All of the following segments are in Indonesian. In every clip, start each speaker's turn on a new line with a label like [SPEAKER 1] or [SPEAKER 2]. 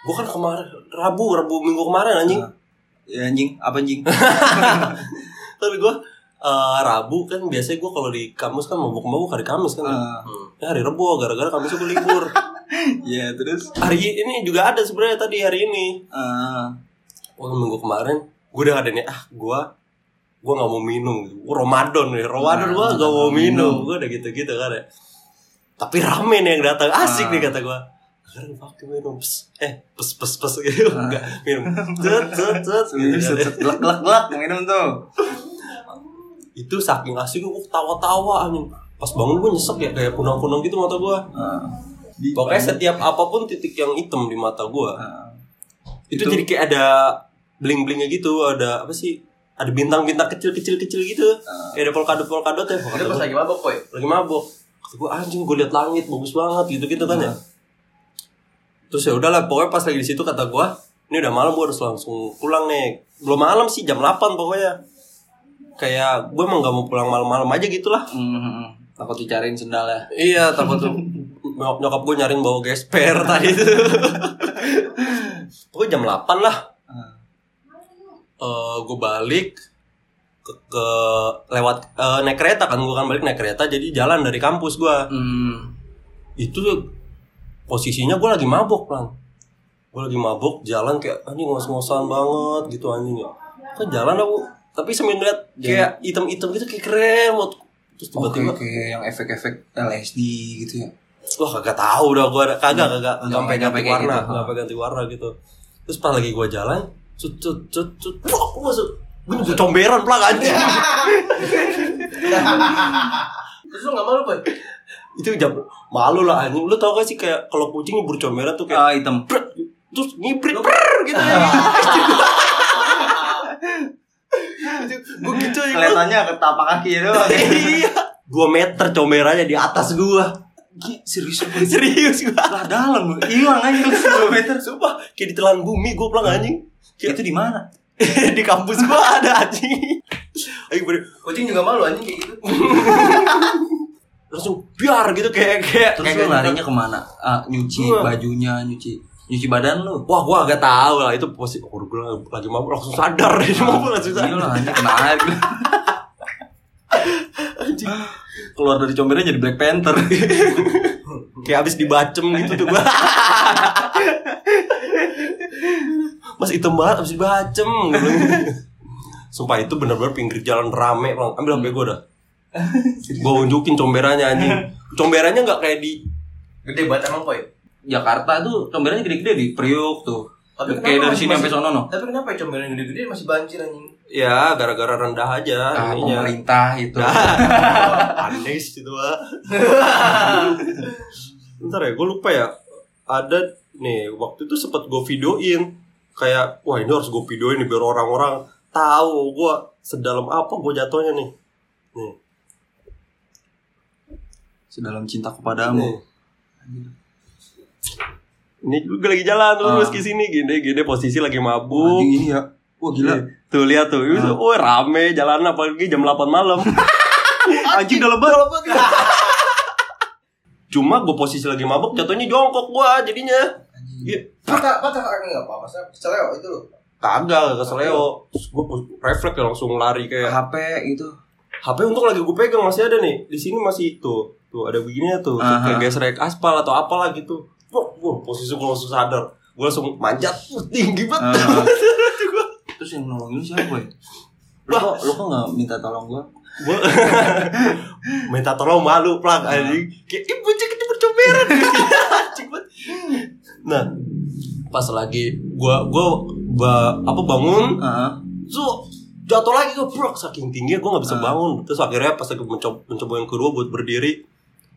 [SPEAKER 1] Gue kan kemarin Rabu, Rabu minggu kemarin anjing.
[SPEAKER 2] Ya, anjing, apa anjing?
[SPEAKER 1] Tapi gue eh, Rabu kan biasanya gue kalau di kampus kan mabuk-mabuk hari Kamis kan. ya.
[SPEAKER 2] Ah,
[SPEAKER 1] Hmm. Ya, hari Rabu gara-gara Kamis gue libur.
[SPEAKER 2] ya terus
[SPEAKER 1] hari ini juga ada sebenarnya tadi hari ini.
[SPEAKER 2] ah,
[SPEAKER 1] Wah, minggu kemarin gue udah ada nih ah gue gue nggak mau minum gue Ramadan nih Ramadan gue
[SPEAKER 2] Nah,
[SPEAKER 1] nggak mau
[SPEAKER 2] nggak mau
[SPEAKER 1] minum
[SPEAKER 2] minum.
[SPEAKER 1] gue udah gitu gitu kan ya tapi rame nih yang datang asik
[SPEAKER 2] Ah.
[SPEAKER 1] nih kata gue akhirnya gue pakai minum pes eh pes pes pes gitu nggak minum cet cet cet gitu
[SPEAKER 2] terus
[SPEAKER 1] kan ya.
[SPEAKER 2] set- set, gelak gelak gelak minum tuh.
[SPEAKER 1] itu saking asik gue tawa tawa anjing pas bangun gue nyesek ya kayak kunang kunang gitu mata gue
[SPEAKER 2] Ah, di-
[SPEAKER 1] pokoknya setiap apapun titik yang hitam di mata gue
[SPEAKER 2] Ah,
[SPEAKER 1] itu,
[SPEAKER 2] Itu-
[SPEAKER 1] jadi kayak ada bling blingnya gitu ada apa sih ada bintang bintang kecil kecil kecil gitu
[SPEAKER 2] ah.
[SPEAKER 1] Kayak ada polkadot polkadot ya
[SPEAKER 3] Itu
[SPEAKER 1] polkadot
[SPEAKER 3] pas lagi mabok, Boy.
[SPEAKER 1] lagi mabuk gue anjing gue liat langit bagus banget gitu gitu kan
[SPEAKER 3] Ah.
[SPEAKER 1] ya terus ya udahlah pokoknya pas lagi di situ kata gue ini udah malam gue harus langsung pulang nih belum malam sih jam 8 pokoknya kayak gue emang gak mau pulang malam-malam aja gitu lah
[SPEAKER 2] Hmm, takut dicariin sendal ya.
[SPEAKER 1] iya takut tuh nyok- nyokap gue nyariin bawa gesper tadi itu pokoknya jam 8 lah
[SPEAKER 2] Ah.
[SPEAKER 1] eh gue balik ke, ke- lewat eh, naik kereta kan gue kan balik naik kereta jadi jalan dari kampus gue
[SPEAKER 2] Hmm.
[SPEAKER 1] itu posisinya gue lagi mabok lang gue lagi mabok jalan kayak anjing ngos-ngosan banget gitu anjing ya kan jalan aku tapi sambil ngeliat kayak item-item gitu kayak keren banget terus
[SPEAKER 2] Oke,
[SPEAKER 1] tiba-tiba
[SPEAKER 2] oke, yang efek-efek LSD gitu ya.
[SPEAKER 1] wah kagak tahu dah gue kagak kagak
[SPEAKER 2] Hmm. Nggak
[SPEAKER 1] sampai
[SPEAKER 2] pakai-
[SPEAKER 1] ganti
[SPEAKER 2] pakai
[SPEAKER 1] warna
[SPEAKER 2] gitu.
[SPEAKER 1] nggak pakai ganti warna gitu terus pas lagi gue jalan cut cut cut cut wah gue masuk gue nyebut comberan pelak anjing
[SPEAKER 3] Terus lu gak malu, Boy?
[SPEAKER 1] itu jam malu lah anjing lu tau gak sih kayak kalau kucing nyebur comberan tuh kayak
[SPEAKER 2] Ah, hitam.
[SPEAKER 1] brek, terus ngibrit brr, gitu ya gue gitu ya gua-
[SPEAKER 2] Kelihatannya ke tapak kaki ya doang.
[SPEAKER 1] iya dua meter comberannya di atas gua
[SPEAKER 2] Gi, serius lu?
[SPEAKER 1] serius ya, gua
[SPEAKER 2] lah dalam lu. hilang aja lu 10 meter.
[SPEAKER 1] sumpah kayak ditelan bumi gua pulang anjing
[SPEAKER 2] Itu di mana?
[SPEAKER 1] di kampus gua ada anjing Ayo bener,
[SPEAKER 3] Kucing juga malu anjing kayak gitu.
[SPEAKER 1] langsung biar gitu kayak kayak
[SPEAKER 2] Terus
[SPEAKER 1] kayak
[SPEAKER 2] lu larinya kemana? Ah, nyuci
[SPEAKER 1] Gua.
[SPEAKER 2] bajunya, nyuci nyuci badan lu.
[SPEAKER 1] wah gua agak tahu lah itu posisi oh, gua lagi mabuk langsung sadar dari mabuk langsung sadar
[SPEAKER 2] Gila anjing kena air gila.
[SPEAKER 1] Anjing.
[SPEAKER 2] Keluar dari combernya jadi Black Panther.
[SPEAKER 1] kayak abis dibacem gitu tuh gua mas hitam banget abis dibacem gua bilang. gitu. sumpah itu benar-benar pinggir jalan rame bang ambil hp gue dah gue unjukin comberannya anjing comberannya nggak kayak di
[SPEAKER 3] Gede banget emang, Boy.
[SPEAKER 2] Jakarta tuh combernya gede-gede di Priuk tuh. Kayak dari
[SPEAKER 3] masih-
[SPEAKER 2] sini sampai
[SPEAKER 3] masih-
[SPEAKER 2] sono no.
[SPEAKER 3] Tapi kenapa ya comberan yang gede-gede masih banjir anjing?
[SPEAKER 1] ya gara-gara rendah aja
[SPEAKER 2] Ah,
[SPEAKER 1] ininya.
[SPEAKER 2] pemerintah itu.
[SPEAKER 1] aneh sih itu Wak. Ntar ya, gue lupa ya. Ada nih waktu itu sempat gue videoin kayak wah ini harus gue videoin nih biar orang-orang tahu gue sedalam apa gue jatuhnya nih. Nih,
[SPEAKER 2] Sedalam cinta
[SPEAKER 1] nih.
[SPEAKER 2] kepadamu.
[SPEAKER 1] Ini gue lagi jalan terus
[SPEAKER 2] Ah.
[SPEAKER 1] ke sini gede gede posisi lagi mabuk.
[SPEAKER 2] Anjing ini ya. Wah gila.
[SPEAKER 1] Iya. Tuh lihat tuh, itu
[SPEAKER 2] Ah.
[SPEAKER 1] oh rame jalan apalagi jam 8 malam.
[SPEAKER 2] Anjing dalam banget.
[SPEAKER 1] Cuma gue posisi lagi mabuk jatuhnya jongkok gue jadinya.
[SPEAKER 3] Patah, patah kaki nggak apa-apa, saya celeo itu loh.
[SPEAKER 1] Kagak, gak keseleo Gue refleks ya langsung lari kayak
[SPEAKER 2] HP gitu. itu.
[SPEAKER 1] HP untung lagi gue pegang masih ada nih Di sini masih itu Tuh ada begini tuh Terus Kayak
[SPEAKER 2] Aha.
[SPEAKER 1] gesrek aspal atau apalah gitu Wah, wah, posisi gue langsung sadar Gue langsung manjat Wah, Tinggi banget
[SPEAKER 2] Ah. Terus yang nolongin lu siapa ya? Lu kok, lu kok gak minta tolong gua?
[SPEAKER 1] Gue Minta tolong malu plak anjing Kayak ibu cek itu percobaan Nah Pas lagi Gue gua, ba- apa bangun
[SPEAKER 2] Heeh.
[SPEAKER 1] so jatuh lagi ke brok saking tinggi gue nggak bisa
[SPEAKER 2] Ah.
[SPEAKER 1] bangun terus akhirnya pas aku mencoba, mencoba yang kedua buat berdiri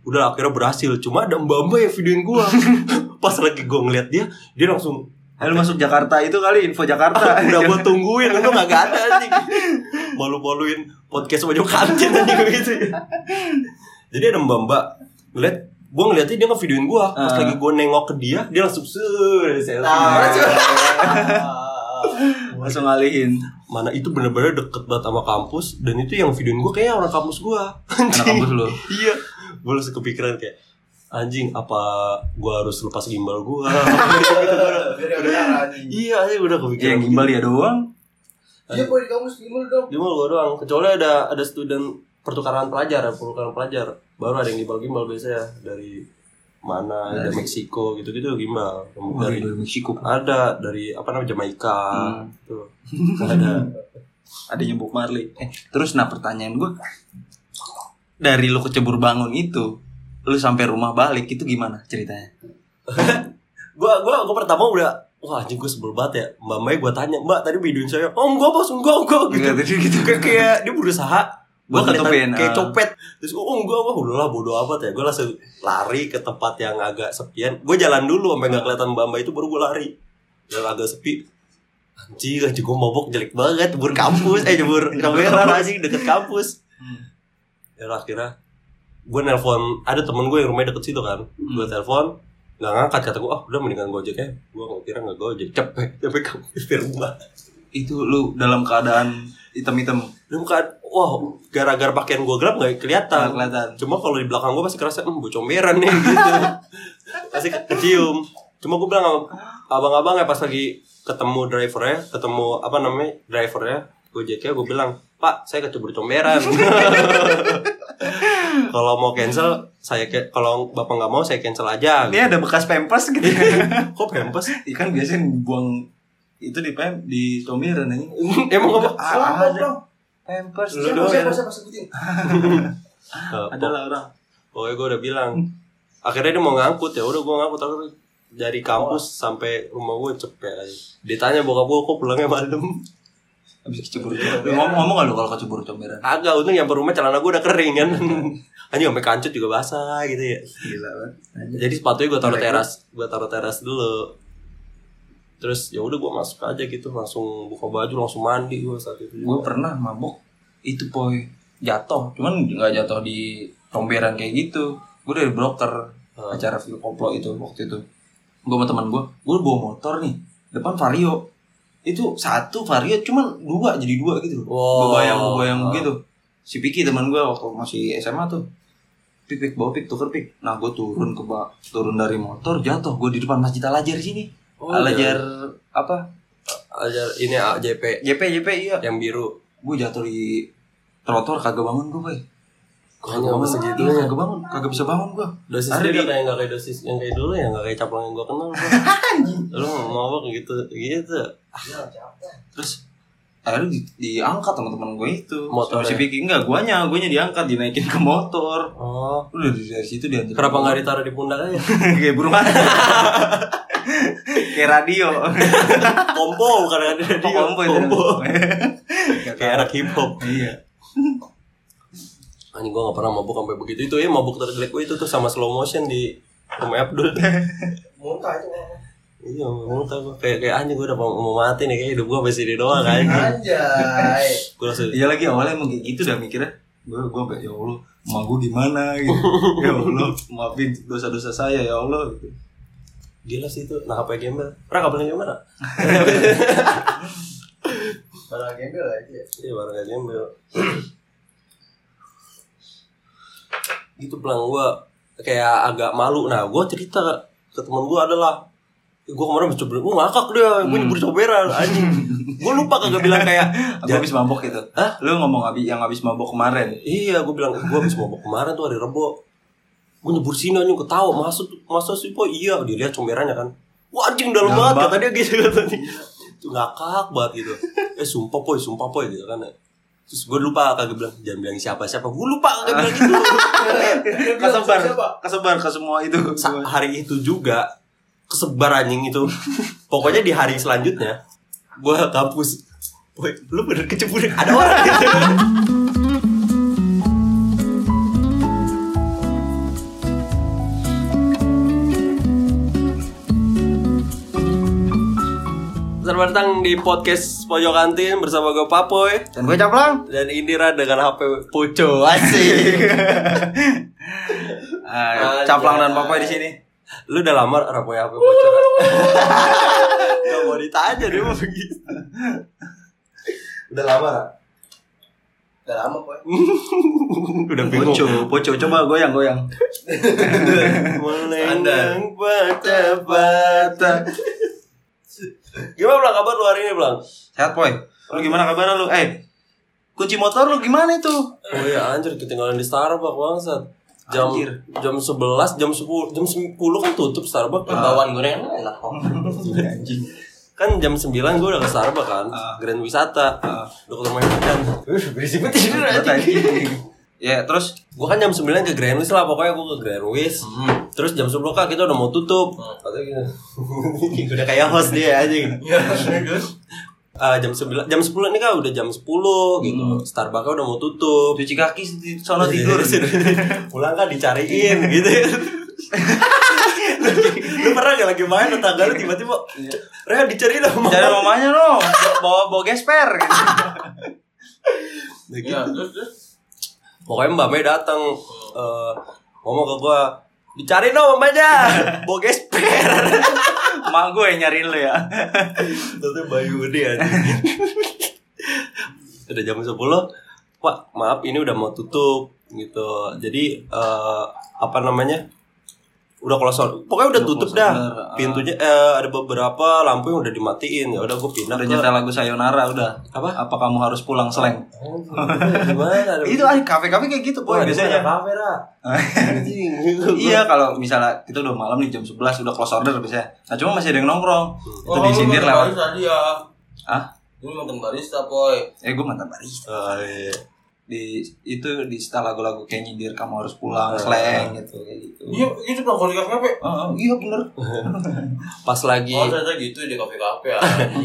[SPEAKER 1] udah akhirnya berhasil cuma ada mbak mbak yang videoin gue pas lagi gue ngeliat dia dia langsung
[SPEAKER 2] Eh, lu masuk Jakarta itu kali info Jakarta. Iya.
[SPEAKER 1] udah gue tungguin lu nggak ada anjing malu maluin podcast baju kantin anjing gitu jadi ada mbak mbak ngeliat gue ngeliatnya dia ngevideoin gue pas
[SPEAKER 2] Ah.
[SPEAKER 1] lagi gue nengok ke dia dia langsung sur selfie.
[SPEAKER 3] Ah. iya.
[SPEAKER 2] Langsung ngalihin.
[SPEAKER 1] mana itu bener-bener deket banget sama kampus dan itu yang videoin gue kayak orang kampus gue
[SPEAKER 2] Anak kampus lu.
[SPEAKER 1] iya gue langsung kepikiran kayak anjing apa gue harus lepas gimbal gue
[SPEAKER 3] Biar
[SPEAKER 1] Iya, aja udah kepikiran.
[SPEAKER 2] yang gimbal ya doang
[SPEAKER 3] Iya, boy, di kampus gimana dong?
[SPEAKER 1] Gimbal gua doang. Kecuali ada ada student pertukaran pelajar, ya, pertukaran pelajar. Baru ada yang gimbal-gimbal biasanya dari mana, dari,
[SPEAKER 2] Dari- Oh,
[SPEAKER 1] Meksiko gitu-gitu gimbal.
[SPEAKER 2] dari
[SPEAKER 1] Dari
[SPEAKER 2] dari Meksiko
[SPEAKER 1] ada dari apa namanya Jamaika
[SPEAKER 2] Hmm.
[SPEAKER 1] gitu. Ada
[SPEAKER 2] adanya Bob Marley eh, terus nah pertanyaan gue dari lu kecebur bangun itu lu sampai rumah balik itu gimana ceritanya
[SPEAKER 1] gua gua gua pertama udah wah anjing gua sebel banget ya mbak mbak gua tanya mbak tadi videoin saya oh enggak bos enggak enggak gitu
[SPEAKER 2] Enggak, tadi gitu
[SPEAKER 1] kayak kayak dia berusaha gua
[SPEAKER 2] Buat nutupin,
[SPEAKER 1] kelihatan kayak
[SPEAKER 2] ah.
[SPEAKER 1] copet terus gua, oh enggak wah udahlah bodo amat ya gua langsung lari ke tempat yang agak sepian gua jalan dulu sampai nggak kelihatan mbak mbak itu baru gua lari jalan agak sepi anjing anjing gua mabok jelek banget jebur kampus eh jebur kamera anjing deket kampus ya akhirnya gua nelpon ada temen gue yang rumahnya deket situ kan gua telepon nggak ngangkat kata gue ah udah mendingan gojek ya gue nggak kira nggak gojek capek capek kamu di rumah
[SPEAKER 2] itu lu dalam keadaan hitam-hitam
[SPEAKER 1] lu bukan wah gara-gara pakaian gue gelap nggak kelihatan
[SPEAKER 2] Nggak kelihatan.
[SPEAKER 1] cuma kalau di belakang gue pasti kerasa hmm bocomberan nih gitu pasti ke- kecium cuma gue bilang sama abang-abang ya pas lagi ketemu drivernya ketemu apa namanya drivernya gojeknya gue bilang pak saya kecebur comberan kalau mau cancel saya ke kalau bapak nggak mau saya cancel aja
[SPEAKER 2] ini ada bekas pampers gitu
[SPEAKER 1] kok pempes
[SPEAKER 2] ikan biasanya buang itu di pem di comberan ini
[SPEAKER 1] emang apa
[SPEAKER 2] Ah,
[SPEAKER 3] Siapa dong?
[SPEAKER 2] pampers
[SPEAKER 1] Lu
[SPEAKER 3] Siapa
[SPEAKER 1] doang
[SPEAKER 3] siapa
[SPEAKER 1] ya.
[SPEAKER 3] siapa sebutin?
[SPEAKER 1] Eh,
[SPEAKER 2] adalah orang
[SPEAKER 1] Pokoknya gue udah bilang Akhirnya dia mau ngangkut ya udah gue ngangkut Akhirnya dari kampus sampai rumah gue cepet aja Dia tanya bokap gue kok pulangnya malam
[SPEAKER 2] habis kecebur comberan ngomong ngomong nggak lu kalau kecebur comberan
[SPEAKER 1] Agak untung nyampe rumah celana gue udah kering kan Anjing sampai kancut juga basah gitu ya
[SPEAKER 2] gila banget
[SPEAKER 1] Jadi sepatunya gue taruh teras Gue taruh teras dulu Terus ya udah gue masuk aja gitu Langsung buka baju langsung mandi gue saat itu
[SPEAKER 2] gue pernah mabuk itu boy jatuh cuman nggak jatuh di comberan kayak gitu gue dari broker
[SPEAKER 1] Hmm.
[SPEAKER 2] acara view koplo itu waktu itu gue sama teman gue gue bawa motor nih depan vario itu satu vario cuman dua jadi dua gitu
[SPEAKER 1] Wow.
[SPEAKER 2] gue bayang gue bayang
[SPEAKER 1] Hmm.
[SPEAKER 2] gitu si Piki teman gue waktu masih SMA tuh pik pik bawa pik tuker pik nah gue turun ke ba- turun dari motor jatuh gue di depan masjid al ajar sini
[SPEAKER 1] Oh,
[SPEAKER 2] al
[SPEAKER 1] iya.
[SPEAKER 2] ajar apa
[SPEAKER 1] Ajar ini AJP
[SPEAKER 2] JP JP iya
[SPEAKER 1] Yang biru
[SPEAKER 2] gue jatuh di trotor kagak bangun gue boy
[SPEAKER 1] Kayaknya sampai segitunya.
[SPEAKER 2] Iya, kagak bangun kagak bisa bangun gue
[SPEAKER 1] Dosis
[SPEAKER 2] Ada
[SPEAKER 1] dia
[SPEAKER 2] di-
[SPEAKER 1] kayak gak kayak dosis yang kayak dulu ya gak kayak caplang yang gue kenal gua. Lu mabok gitu gitu
[SPEAKER 3] Ya, siapa?
[SPEAKER 2] terus akhirnya di- diangkat sama teman gue itu
[SPEAKER 1] Motornya.
[SPEAKER 2] Sama si Vicky enggak guanya guanya diangkat dinaikin ke motor
[SPEAKER 1] Oh
[SPEAKER 2] udah dari dari situ diantar
[SPEAKER 1] Kenapa gak ditaruh di pundak aja?
[SPEAKER 2] kayak burung hantu. kayak radio
[SPEAKER 1] Kompo bukan kan dia
[SPEAKER 2] kompo itu
[SPEAKER 1] Kayak anak hip hop
[SPEAKER 2] iya
[SPEAKER 1] Anjing gue gak pernah mabuk sampai begitu Itu ya mabuk tergelek gue itu tuh sama slow motion di rumah Abdul
[SPEAKER 3] Muntah itu orang.
[SPEAKER 1] Iya mulut gue Kayak, kayak anjing gue udah mau, mau mati nih Kayak hidup gue sampai sini doang anjing
[SPEAKER 3] Anjay.
[SPEAKER 1] Gue langsung
[SPEAKER 2] iya lagi awalnya emang kayak gitu dah mikirnya gue gue gak ya allah emak gue gimana gitu ya allah maafin dosa-dosa saya ya allah gitu.
[SPEAKER 1] Gila sih itu Nah apa yang gembel Pernah gak pernah gembel? Ra?
[SPEAKER 3] Barang gembel ya. aja.
[SPEAKER 1] Iya barang gak gembel Gitu pelang gue Kayak agak malu Nah gue cerita ke temen gue adalah Gue kemarin habis cobain, gue ngakak dia, gue nyebur coberan, anjing Gue lupa kagak bilang kayak
[SPEAKER 2] Aku
[SPEAKER 1] "Ja-
[SPEAKER 2] habis mabok gitu.
[SPEAKER 1] Hah?
[SPEAKER 2] Lu ngomong habis yang habis mabok kemarin.
[SPEAKER 1] Iya, gue bilang gue habis mabok kemarin tuh hari Rebo. Gue nyebur sini anjing ketawa, masuk masuk sih po iya dilihat comberannya kan. Wah anjing dalam
[SPEAKER 2] Dalam
[SPEAKER 1] banget
[SPEAKER 2] banget.
[SPEAKER 1] kata dia gitu katanya. Tuh ngakak banget gitu. Eh sumpah poy, sumpah poy gitu kan. Terus gue lupa kagak bilang jangan bilang siapa siapa. Gue lupa kagak bilang gitu.
[SPEAKER 3] Dia bilang,
[SPEAKER 2] Kesebar,
[SPEAKER 3] siapa?
[SPEAKER 2] kesebar ke semua itu.
[SPEAKER 1] Sa- hari itu juga kesebar anjing itu. Pokoknya di hari selanjutnya gue kampus. Poy, lu bener kecebur ada orang gitu. Selamat datang di podcast Pojok Kantin bersama gue Papoy
[SPEAKER 2] Dan gue caplang.
[SPEAKER 1] dan Indira dengan HP Pucu asik.
[SPEAKER 2] Ah, caplang dan papai di sini.
[SPEAKER 1] Lu udah lamar apa ya HP Pucu? Ra? Gak mau ditanya dia mau begitu. Udah lama Ra?
[SPEAKER 3] Udah lama, Boy.
[SPEAKER 1] udah bingung.
[SPEAKER 2] Poco, poco coba goyang goyang.
[SPEAKER 1] Mulai yang patah-patah. Gimana Blang kabar lu hari ini Blang?
[SPEAKER 2] Sehat boy. Lu gimana kabar lu? Eh, kunci motor lu gimana itu?
[SPEAKER 1] Oh iya anjir ketinggalan di Starbucks bangsat. Jam
[SPEAKER 2] Anjir.
[SPEAKER 1] jam 11, jam 10, jam 10 kan tutup Starbucks kan.
[SPEAKER 4] Bawaan gorengan enak kok.
[SPEAKER 2] Iya, Anjing.
[SPEAKER 1] Kan jam 9 gue udah ke Starbucks kan.
[SPEAKER 2] Ah.
[SPEAKER 1] Grand Wisata.
[SPEAKER 2] Ah.
[SPEAKER 1] Udah ketemu Edan.
[SPEAKER 4] Berisi putih dulu
[SPEAKER 2] Anjing. Ya, terus
[SPEAKER 1] Gue kan jam 9 ke Grand Wis lah pokoknya gue ke Grand Wis.
[SPEAKER 2] Mm-hmm.
[SPEAKER 1] Terus jam 10 kak kita udah mau tutup.
[SPEAKER 2] Mm.
[SPEAKER 1] Katanya gitu. udah kayak host dia anjing.
[SPEAKER 3] Iya,
[SPEAKER 1] Ah, jam 9 jam 10 ini kan udah jam 10 gitu. Starbucks udah mau tutup.
[SPEAKER 2] Mm. cuci kaki di sono tidur. iya, Mm.
[SPEAKER 1] pulang kan dicariin gitu lu pernah gak lagi main tetangga lu tiba-tiba
[SPEAKER 2] Iya.
[SPEAKER 1] Rehan dicariin sama
[SPEAKER 2] Jadi
[SPEAKER 1] mama
[SPEAKER 2] mamanya no, bawa bawa gesper gitu. Iya.
[SPEAKER 4] Ya, terus terus.
[SPEAKER 1] Gitu. pokoknya mbak Mei datang
[SPEAKER 2] Mm.
[SPEAKER 1] eh, ngomong ke gua dicariin dong mamanya bawa gesper
[SPEAKER 2] Mak gue yang nyariin lu ya.
[SPEAKER 1] Tentu Bayu Budi Udah jam 10 Pak maaf ini udah mau tutup gitu Jadi eh, apa namanya udah close order. pokoknya udah
[SPEAKER 2] Udah
[SPEAKER 1] tutup
[SPEAKER 2] close
[SPEAKER 1] dah
[SPEAKER 2] order, ah.
[SPEAKER 1] pintunya eh, ada beberapa lampu yang udah dimatiin ya udah gue pindah
[SPEAKER 2] Udah
[SPEAKER 1] ke
[SPEAKER 2] nyetel lagu Sayonara udah.
[SPEAKER 1] apa Iya.
[SPEAKER 2] Apa kamu harus pulang seleng?
[SPEAKER 1] Oh, gimana
[SPEAKER 2] Itu ah kafe-kafe kayak gitu,
[SPEAKER 1] Oh,
[SPEAKER 2] boy, biasanya.
[SPEAKER 1] kamera gitu.
[SPEAKER 2] iya kalau misalnya kita udah malam nih jam 11 udah close order biasanya nah cuma masih ada yang nongkrong itu
[SPEAKER 1] Oh,
[SPEAKER 2] disindir lewat
[SPEAKER 4] Tadi ya.
[SPEAKER 2] ah
[SPEAKER 4] Ini mantan barista, boy.
[SPEAKER 2] eh gue mantan barista
[SPEAKER 1] iya.
[SPEAKER 2] di itu di setel lagu-lagu kayak nyindir kamu harus pulang slang gitu kayak gitu
[SPEAKER 4] Iya, itu pernah kalau di kafe-kafe.
[SPEAKER 2] Oh, oh, iya bener
[SPEAKER 1] pas lagi
[SPEAKER 4] Oh, ternyata gitu di kafe-kafe.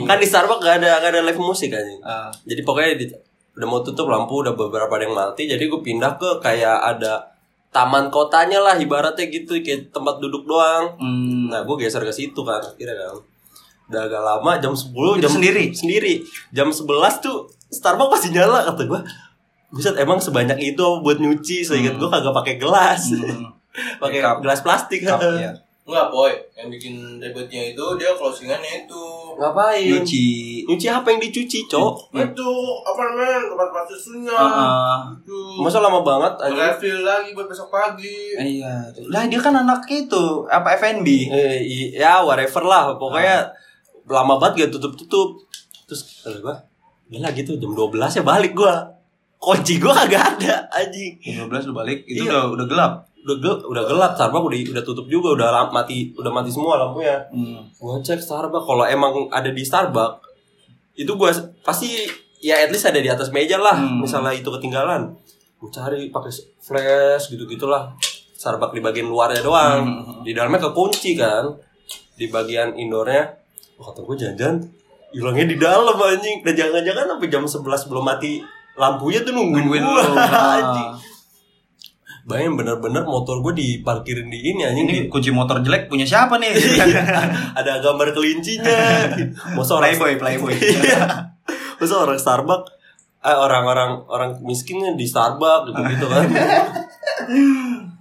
[SPEAKER 1] kan di Starbucks gak ada gak ada live musik anjing
[SPEAKER 2] Ah,
[SPEAKER 1] jadi pokoknya di- udah mau tutup lampu udah beberapa ada yang mati jadi gue pindah ke kayak ada taman kotanya lah ibaratnya gitu kayak tempat duduk doang
[SPEAKER 2] hmm,
[SPEAKER 1] nah gue geser ke situ kan kira kan udah agak lama jam 10
[SPEAKER 2] Itu
[SPEAKER 1] jam
[SPEAKER 2] sendiri?
[SPEAKER 1] sendiri jam 11 tuh Starbucks masih nyala kata gue Buset emang sebanyak itu buat nyuci seingat gue kagak pakai gelas
[SPEAKER 2] hmm,
[SPEAKER 1] pakai
[SPEAKER 2] Cup.
[SPEAKER 1] gelas plastik
[SPEAKER 2] cup, ya.
[SPEAKER 4] Enggak, boy. Yang bikin ribetnya itu dia closingannya itu.
[SPEAKER 1] ngapain
[SPEAKER 2] nyuci
[SPEAKER 1] nyuci apa yang dicuci cok
[SPEAKER 4] Itu apa namanya tempat susunya.
[SPEAKER 2] Ah, ah.
[SPEAKER 4] Itu
[SPEAKER 1] masa lama banget anjing?
[SPEAKER 4] refill lagi buat besok pagi.
[SPEAKER 2] iya lah dia kan anak itu apa FNB
[SPEAKER 1] eh, i- ya whatever lah pokoknya lama banget gak tutup tutup terus kata gua gila gitu jam 12 ya balik gua kunci gua kagak ada anjing
[SPEAKER 2] jam 12 lu balik itu
[SPEAKER 1] Iya.
[SPEAKER 2] udah udah gelap
[SPEAKER 1] udah gel- udah gelap Starbucks udah udah tutup juga udah lam- mati udah mati semua lampunya
[SPEAKER 2] hmm.
[SPEAKER 1] gua cek Starbucks kalau emang ada di Starbucks itu gua s- pasti ya at least ada di atas meja lah
[SPEAKER 2] Hmm.
[SPEAKER 1] misalnya itu ketinggalan gua cari pakai s- flash gitu gitulah Starbucks di bagian luarnya doang
[SPEAKER 2] Hmm.
[SPEAKER 1] di dalamnya kekunci kan di bagian indoornya wah kata gue jangan-jangan hilangnya di dalam anjing dan jangan-jangan sampai jam 11 belum mati lampunya tuh nungguin,
[SPEAKER 2] nungguin lu
[SPEAKER 1] gua anjing
[SPEAKER 2] Ah.
[SPEAKER 1] bayangin bener-bener motor gue diparkirin di ini anjing
[SPEAKER 2] ini
[SPEAKER 1] Di-
[SPEAKER 2] kunci motor jelek punya siapa nih
[SPEAKER 1] ada gambar kelincinya masa orang
[SPEAKER 2] playboy playboy
[SPEAKER 1] Iya. masa orang Starbucks eh, orang-orang orang miskinnya di Starbucks gitu gitu kan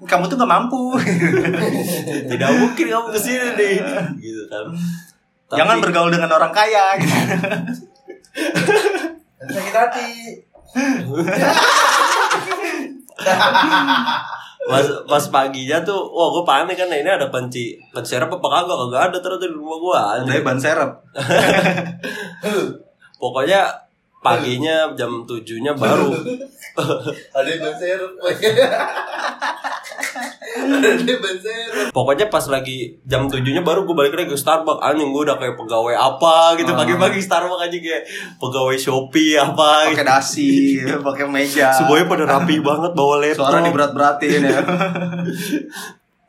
[SPEAKER 2] kamu tuh gak mampu
[SPEAKER 1] tidak mungkin kamu kesini nih gitu kan Tapi-
[SPEAKER 2] jangan bergaul dengan orang kaya gitu.
[SPEAKER 3] sakit hati
[SPEAKER 1] pas, pas paginya tuh wah gue panik kan ini ada kunci kunci serep apa kagak kagak ada ternyata di rumah gue
[SPEAKER 2] Dari ban serep
[SPEAKER 1] pokoknya paginya jam tujuhnya baru
[SPEAKER 4] Ada yang banser. boy. Ada yang banser.
[SPEAKER 1] pokoknya pas lagi jam tujuhnya baru gue balik lagi ke Starbucks anjing gue udah kayak pegawai apa gitu
[SPEAKER 2] Ah.
[SPEAKER 1] pagi-pagi Starbucks aja kayak pegawai Shopee apa
[SPEAKER 2] pakai
[SPEAKER 1] gitu.
[SPEAKER 2] dasi pakai meja
[SPEAKER 1] semuanya pada rapi banget bawa laptop
[SPEAKER 2] Iya. suara diberat-beratin ya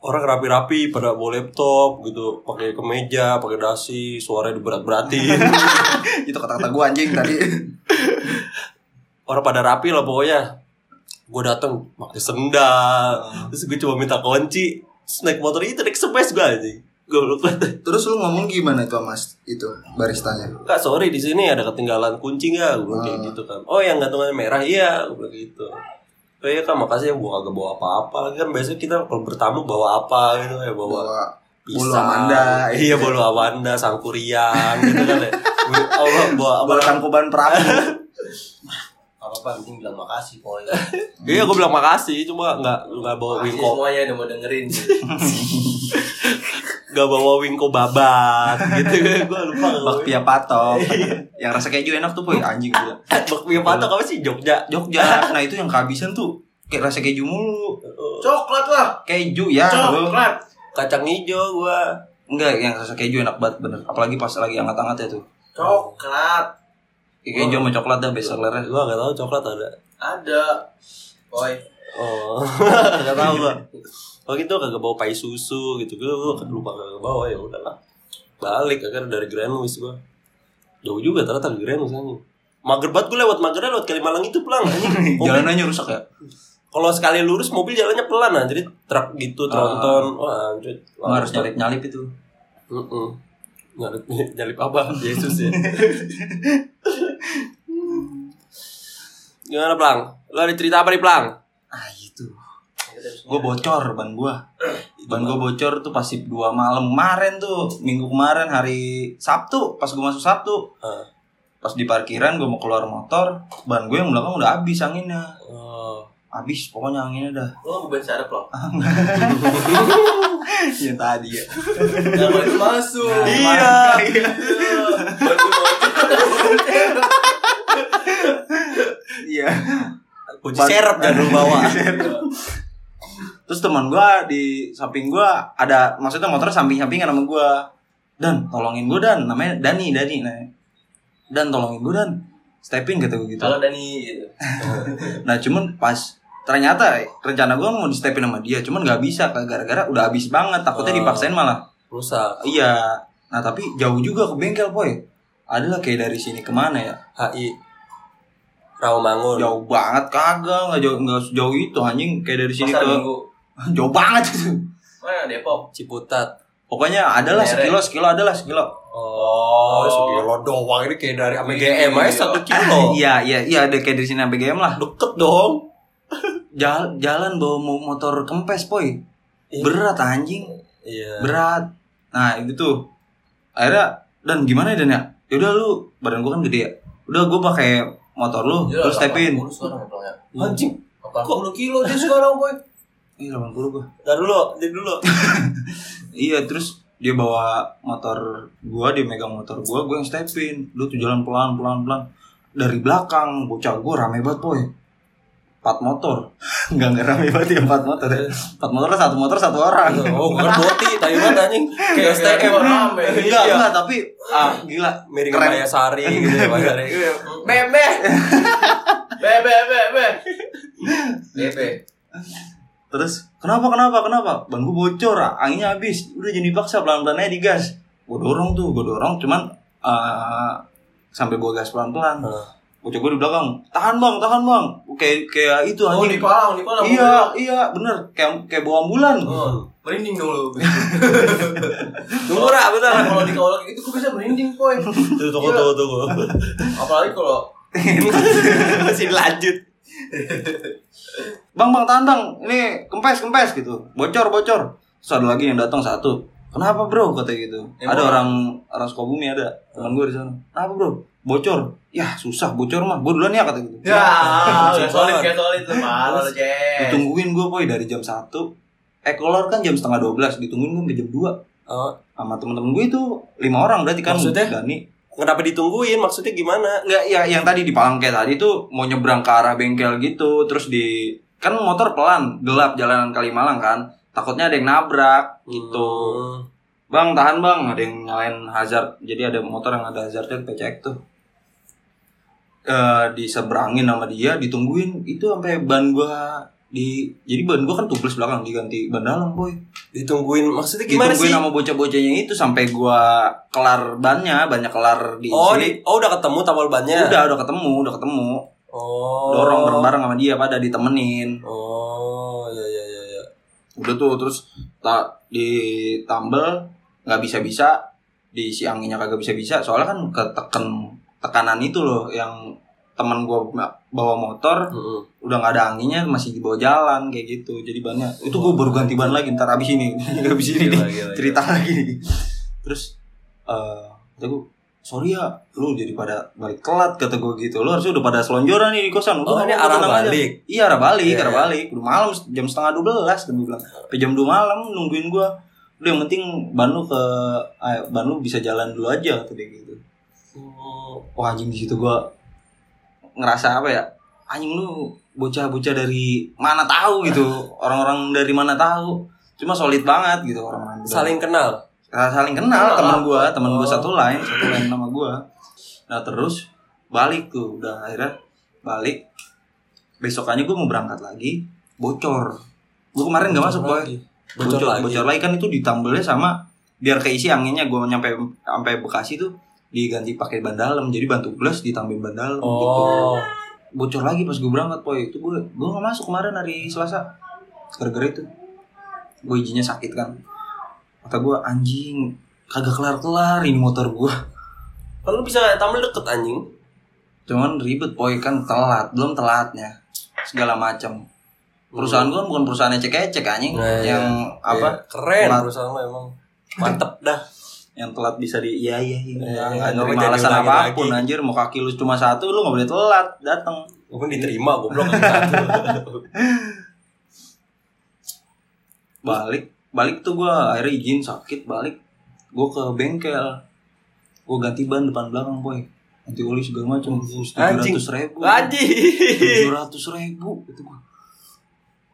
[SPEAKER 1] orang rapi-rapi pada bawa laptop gitu pakai kemeja pakai dasi suara diberat-beratin
[SPEAKER 2] itu kata-kata gua anjing tadi
[SPEAKER 1] orang pada rapi lah pokoknya gue dateng pakai sendal terus gue cuma minta kunci terus naik motor itu naik space gue aja gue belum
[SPEAKER 2] terus lu ngomong gimana tuh mas itu baristanya
[SPEAKER 1] kak sorry di sini ada ketinggalan kunci nggak gue bilang kayak
[SPEAKER 2] Ah.
[SPEAKER 1] gitu kan oh yang gantungannya merah iya gue bilang gitu oh iya kak makasih ya gue kagak bawa apa-apa lagi kan biasanya kita kalau bertamu bawa apa gitu ya bawa
[SPEAKER 2] bahwa
[SPEAKER 1] pisang
[SPEAKER 2] bolu amanda.
[SPEAKER 1] iya bolu amanda sangkuriang gitu kan ya Gue- Allah bawa apa
[SPEAKER 2] abal tangkuban perahu
[SPEAKER 4] Apa apa penting bilang makasih boy.
[SPEAKER 1] iya gue bilang makasih cuma nggak nggak bawa
[SPEAKER 4] Makasih
[SPEAKER 1] wingko
[SPEAKER 4] semuanya udah mau dengerin.
[SPEAKER 1] gak bawa wingko babat gitu gue lupa nggak bawa
[SPEAKER 2] bakpia patok yang rasa keju enak tuh boy anjing gila
[SPEAKER 1] bakpia patok apa sih Jogja
[SPEAKER 2] Jogja nah itu yang kehabisan tuh kayak rasa keju mulu
[SPEAKER 4] Coklat lah.
[SPEAKER 2] keju ya lu.
[SPEAKER 4] Coklat.
[SPEAKER 1] kacang hijau gue
[SPEAKER 2] enggak yang rasa keju enak banget bener apalagi pas lagi hangat-hangat ya tuh
[SPEAKER 4] Coklat.
[SPEAKER 2] Kayak keju sama coklat dah best sellernya
[SPEAKER 1] gue gak tahu coklat ada
[SPEAKER 4] Ada. Boy.
[SPEAKER 1] oh gak tahu gue waktu itu kagak bawa pai susu gitu gue lupa kagak bawa ya udahlah balik akhirnya dari Grand Louis gue jauh juga ternyata dari Grand Louis anjing mager banget gue lewat magernya lewat Kalimalang itu pelan anjing Mobil
[SPEAKER 2] jalanannya rusak ya
[SPEAKER 1] kalau sekali lurus mobil jalannya pelan nah jadi truk gitu tronton wah anjir
[SPEAKER 2] Nggak Oh, harus nyalip-nyalip itu
[SPEAKER 1] Heeh. nyalip nyalip apa Yesus ya gimana pelang lo ada cerita apa nih pelang
[SPEAKER 2] ah itu gue bocor ban gue ban gue bocor tuh pasti dua malam kemarin tuh minggu kemarin hari Sabtu pas gue masuk Sabtu
[SPEAKER 1] Heeh.
[SPEAKER 2] pas di parkiran gue mau keluar motor ban gue yang belakang udah habis anginnya
[SPEAKER 1] oh.
[SPEAKER 2] habis pokoknya anginnya dah
[SPEAKER 4] Lo bukan sarap loh.
[SPEAKER 2] yang tadi ya
[SPEAKER 4] Gak boleh masuk.
[SPEAKER 1] iya
[SPEAKER 2] iya
[SPEAKER 1] kunci serep jangan lu bawa
[SPEAKER 2] terus teman gue di samping gue ada maksudnya motor samping sampingan sama gue dan tolongin gue dan namanya Dani Dani nah dan tolongin gue dan stepping kata gue gitu
[SPEAKER 4] Kalau Dani gitu.
[SPEAKER 2] Nah cuman pas ternyata rencana gue mau di stepin sama dia cuman nggak bisa Kak. gara-gara udah habis banget
[SPEAKER 1] Oh.
[SPEAKER 2] takutnya dipaksain malah
[SPEAKER 1] rusak
[SPEAKER 2] iya nah tapi jauh juga ke bengkel boy adalah kayak dari sini kemana ya
[SPEAKER 1] HI Rawamangun
[SPEAKER 2] jauh banget kagak nggak jauh nggak sejauh itu anjing kayak dari sini
[SPEAKER 4] Pasar
[SPEAKER 2] ke
[SPEAKER 4] Minggu.
[SPEAKER 2] jauh banget itu
[SPEAKER 4] Mana
[SPEAKER 1] Iya.
[SPEAKER 4] Depok?
[SPEAKER 1] Ciputat
[SPEAKER 2] pokoknya adalah
[SPEAKER 4] Daerah.
[SPEAKER 2] sekilo sekilo adalah sekilo
[SPEAKER 1] oh, sekilo doang ini kayak dari sama GM aja
[SPEAKER 4] Iya.
[SPEAKER 1] satu kilo
[SPEAKER 2] iya iya iya ada kayak dari sini sampai GM lah
[SPEAKER 1] deket dong
[SPEAKER 2] jalan jalan bawa mo- motor kempes boy
[SPEAKER 1] Iya.
[SPEAKER 2] berat anjing
[SPEAKER 1] iya
[SPEAKER 2] berat nah itu tuh akhirnya dan gimana ya dan ya yaudah lu badan gua kan gede ya udah gua pakai motor lu terus stepin
[SPEAKER 4] Urus orang ya.
[SPEAKER 1] Iya, anjing
[SPEAKER 4] Kok lu kilo dia sekarang boy?
[SPEAKER 2] Ih, 80 gua
[SPEAKER 1] Ntar dulu, dia dulu.
[SPEAKER 2] iya terus dia bawa motor gua dia megang motor gua gua yang stepin lu tuh jalan pelan pelan pelan dari belakang bocah gua rame banget boy empat motor nggak nggak rame banget ya empat motor ya. empat motor satu motor satu orang
[SPEAKER 1] Oh, bukan boti, tai banget anjing. Kayak
[SPEAKER 4] Kayak
[SPEAKER 1] STM.
[SPEAKER 4] STM. Rame.
[SPEAKER 2] enggak enggak tapi ah, gila
[SPEAKER 1] Miring
[SPEAKER 2] Keren.
[SPEAKER 1] Maya Sari gitu ya, Maya Sari.
[SPEAKER 4] Bebe. Bebe bebe. Bebe.
[SPEAKER 2] Terus kenapa kenapa kenapa? Ban gua bocor, anginnya habis. Udah jadi paksa pelan-pelan aja digas. Gue dorong tuh, gue dorong cuman eh, sampai gua gas pelan-pelan.
[SPEAKER 1] Heeh.
[SPEAKER 2] Bocah gua di belakang, tahan bang, tahan bang. Kayak kayak itu
[SPEAKER 4] Oh di
[SPEAKER 2] anjing.
[SPEAKER 4] Palang, di Palang.
[SPEAKER 2] iya, iya, bener. Kayak kayak bawa ambulan.
[SPEAKER 4] Oh, merinding dong lu.
[SPEAKER 1] Tunggu ra, bentar.
[SPEAKER 4] Kalau di kalau gitu gue bisa merinding boy.
[SPEAKER 1] Tuh, tunggu, tunggu, tunggu.
[SPEAKER 4] Apalagi kalau
[SPEAKER 1] Masih lanjut.
[SPEAKER 2] Bang, bang, tahan bang. Ini kempes, kempes gitu. Bocor, bocor. Terus ada lagi yang datang satu. Kenapa bro? Kata gitu.
[SPEAKER 4] Emang? ya?
[SPEAKER 2] ada orang orang Sukabumi ada. Teman gue di sana. Kenapa bro? Bocor. Yah susah bocor mah. Gue duluan ya kata gitu.
[SPEAKER 4] Ya,
[SPEAKER 1] Lucu
[SPEAKER 4] gak solid,
[SPEAKER 1] banget.
[SPEAKER 4] gak solid lu malu lu, Jess.
[SPEAKER 2] Ditungguin gue boy dari jam 1 Eh keluar kan jam setengah 12 Ditungguin gue sampai jam 2
[SPEAKER 1] Oh,
[SPEAKER 2] Sama temen-temen gue itu lima orang berarti kan
[SPEAKER 1] Maksudnya?
[SPEAKER 2] Dani
[SPEAKER 1] kenapa ditungguin? Maksudnya gimana?
[SPEAKER 2] Enggak ya yang tadi di Palangke tadi tuh Mau nyebrang ke arah bengkel gitu Terus di Kan motor pelan Gelap jalanan Kalimalang kan Takutnya ada yang nabrak gitu
[SPEAKER 1] Hmm.
[SPEAKER 2] Bang tahan bang Ada yang nyalain hazard Jadi ada motor yang ada hazardnya PCX tuh Eh, diseberangin sama dia ditungguin itu sampai ban gua di jadi ban gua kan tubeless belakang diganti ban dalam boy
[SPEAKER 1] Ditungguin maksudnya gimana
[SPEAKER 2] Gimana ditungguin
[SPEAKER 1] sih?
[SPEAKER 2] sama bocah-bocahnya itu sampai gua kelar bannya banyak kelar di
[SPEAKER 1] Oh,
[SPEAKER 2] sini.
[SPEAKER 1] di- ya. oh udah ketemu tabal bannya.
[SPEAKER 2] udah udah ketemu udah ketemu
[SPEAKER 1] Oh.
[SPEAKER 2] dorong bareng-bareng sama dia pada ditemenin
[SPEAKER 1] Oh, ya ya ya ya.
[SPEAKER 2] udah tuh terus tak ditambel nggak bisa bisa diisi anginnya kagak bisa bisa soalnya kan ketekan tekanan itu loh yang teman gua bawa motor
[SPEAKER 1] Heeh.
[SPEAKER 2] udah nggak ada anginnya masih dibawa jalan kayak gitu jadi bannya itu gua baru ganti ban lagi ntar abis ini abis ini
[SPEAKER 1] Iya,
[SPEAKER 2] nih. cerita lagi terus eh kata gue sorry ya lu jadi pada balik telat kata gue gitu lu harusnya udah pada selonjoran nih di kosan
[SPEAKER 1] Oh,
[SPEAKER 2] Udah,
[SPEAKER 1] ini arah
[SPEAKER 2] apa-apa, tenang aja.
[SPEAKER 1] balik.
[SPEAKER 2] iya arah balik
[SPEAKER 1] Iya,
[SPEAKER 2] arah
[SPEAKER 1] iya.
[SPEAKER 2] kan balik udah malam jam setengah dua belas gue bilang Sampai jam dua malam nungguin gue udah yang penting ban lu ke eh, ban lu bisa jalan dulu aja kata dia gitu wah anjing di situ gua ngerasa apa ya anjing lu bocah-bocah dari mana tahu gitu orang-orang dari mana tahu cuma solid banget gitu orang-orang muda.
[SPEAKER 1] Saling kenal.
[SPEAKER 2] Nah, saling kenal
[SPEAKER 4] Kenal
[SPEAKER 2] teman
[SPEAKER 4] lah.
[SPEAKER 2] gua teman gua
[SPEAKER 1] Oh.
[SPEAKER 2] satu lain satu lain sama gua nah terus balik tuh udah akhirnya balik besokannya gua mau berangkat lagi bocor gua kemarin nggak masuk boy
[SPEAKER 1] lagi.
[SPEAKER 2] bocor, bocor lagi. kan itu ditambelnya sama biar keisi anginnya gua nyampe sampai Bekasi tuh diganti pakai ban dalam jadi bantu plus ditambahin ban dalam gitu
[SPEAKER 1] Oh.
[SPEAKER 2] bocor lagi pas gue berangkat boy itu gue gue nggak masuk kemarin hari Selasa gara-gara itu gue izinnya sakit kan kata gue anjing kagak kelar-kelar ini motor gue
[SPEAKER 1] Kan lu bisa tampil deket anjing.
[SPEAKER 2] cuman ribet boy kan telat belum telatnya segala macam
[SPEAKER 1] Iya.
[SPEAKER 2] perusahaan gue kan bukan perusahaan ecek-ecek anjing
[SPEAKER 1] Nah,
[SPEAKER 2] yang
[SPEAKER 1] Iya,
[SPEAKER 2] apa
[SPEAKER 1] keren
[SPEAKER 2] Mat-
[SPEAKER 1] perusahaan lo emang. Mantep dah.
[SPEAKER 2] yang telat bisa di iya iya
[SPEAKER 1] Eh,
[SPEAKER 2] iya nggak
[SPEAKER 1] nggak
[SPEAKER 2] nerima
[SPEAKER 1] jadi
[SPEAKER 2] alasan
[SPEAKER 1] ulangin
[SPEAKER 2] apapun
[SPEAKER 1] lagi.
[SPEAKER 2] anjir mau kaki lu cuma satu lu nggak boleh telat datang
[SPEAKER 1] Gue kan diterima goblok satu.
[SPEAKER 2] balik balik tuh gua akhirnya izin sakit balik gua ke bengkel gua ganti ban depan belakang boy ganti oli segala macam tujuh
[SPEAKER 1] Anjing.
[SPEAKER 2] ratus ribu
[SPEAKER 1] Anjing.
[SPEAKER 2] tujuh ratus ribu itu gua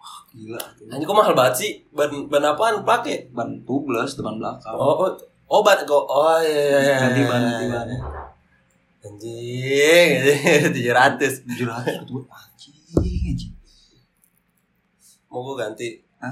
[SPEAKER 2] wah gila
[SPEAKER 1] Anjing kok mahal banget sih? Ban ban apaan pakai?
[SPEAKER 2] ban tubeless depan belakang
[SPEAKER 1] Oh, oh, oh ban go. Oh iya iya iya.
[SPEAKER 2] ganti ban ganti ban
[SPEAKER 1] Anjing, tujuh ratus.
[SPEAKER 2] tujuh ratus gitu gua anjing anjing
[SPEAKER 1] Mau gue ganti.
[SPEAKER 2] Hah?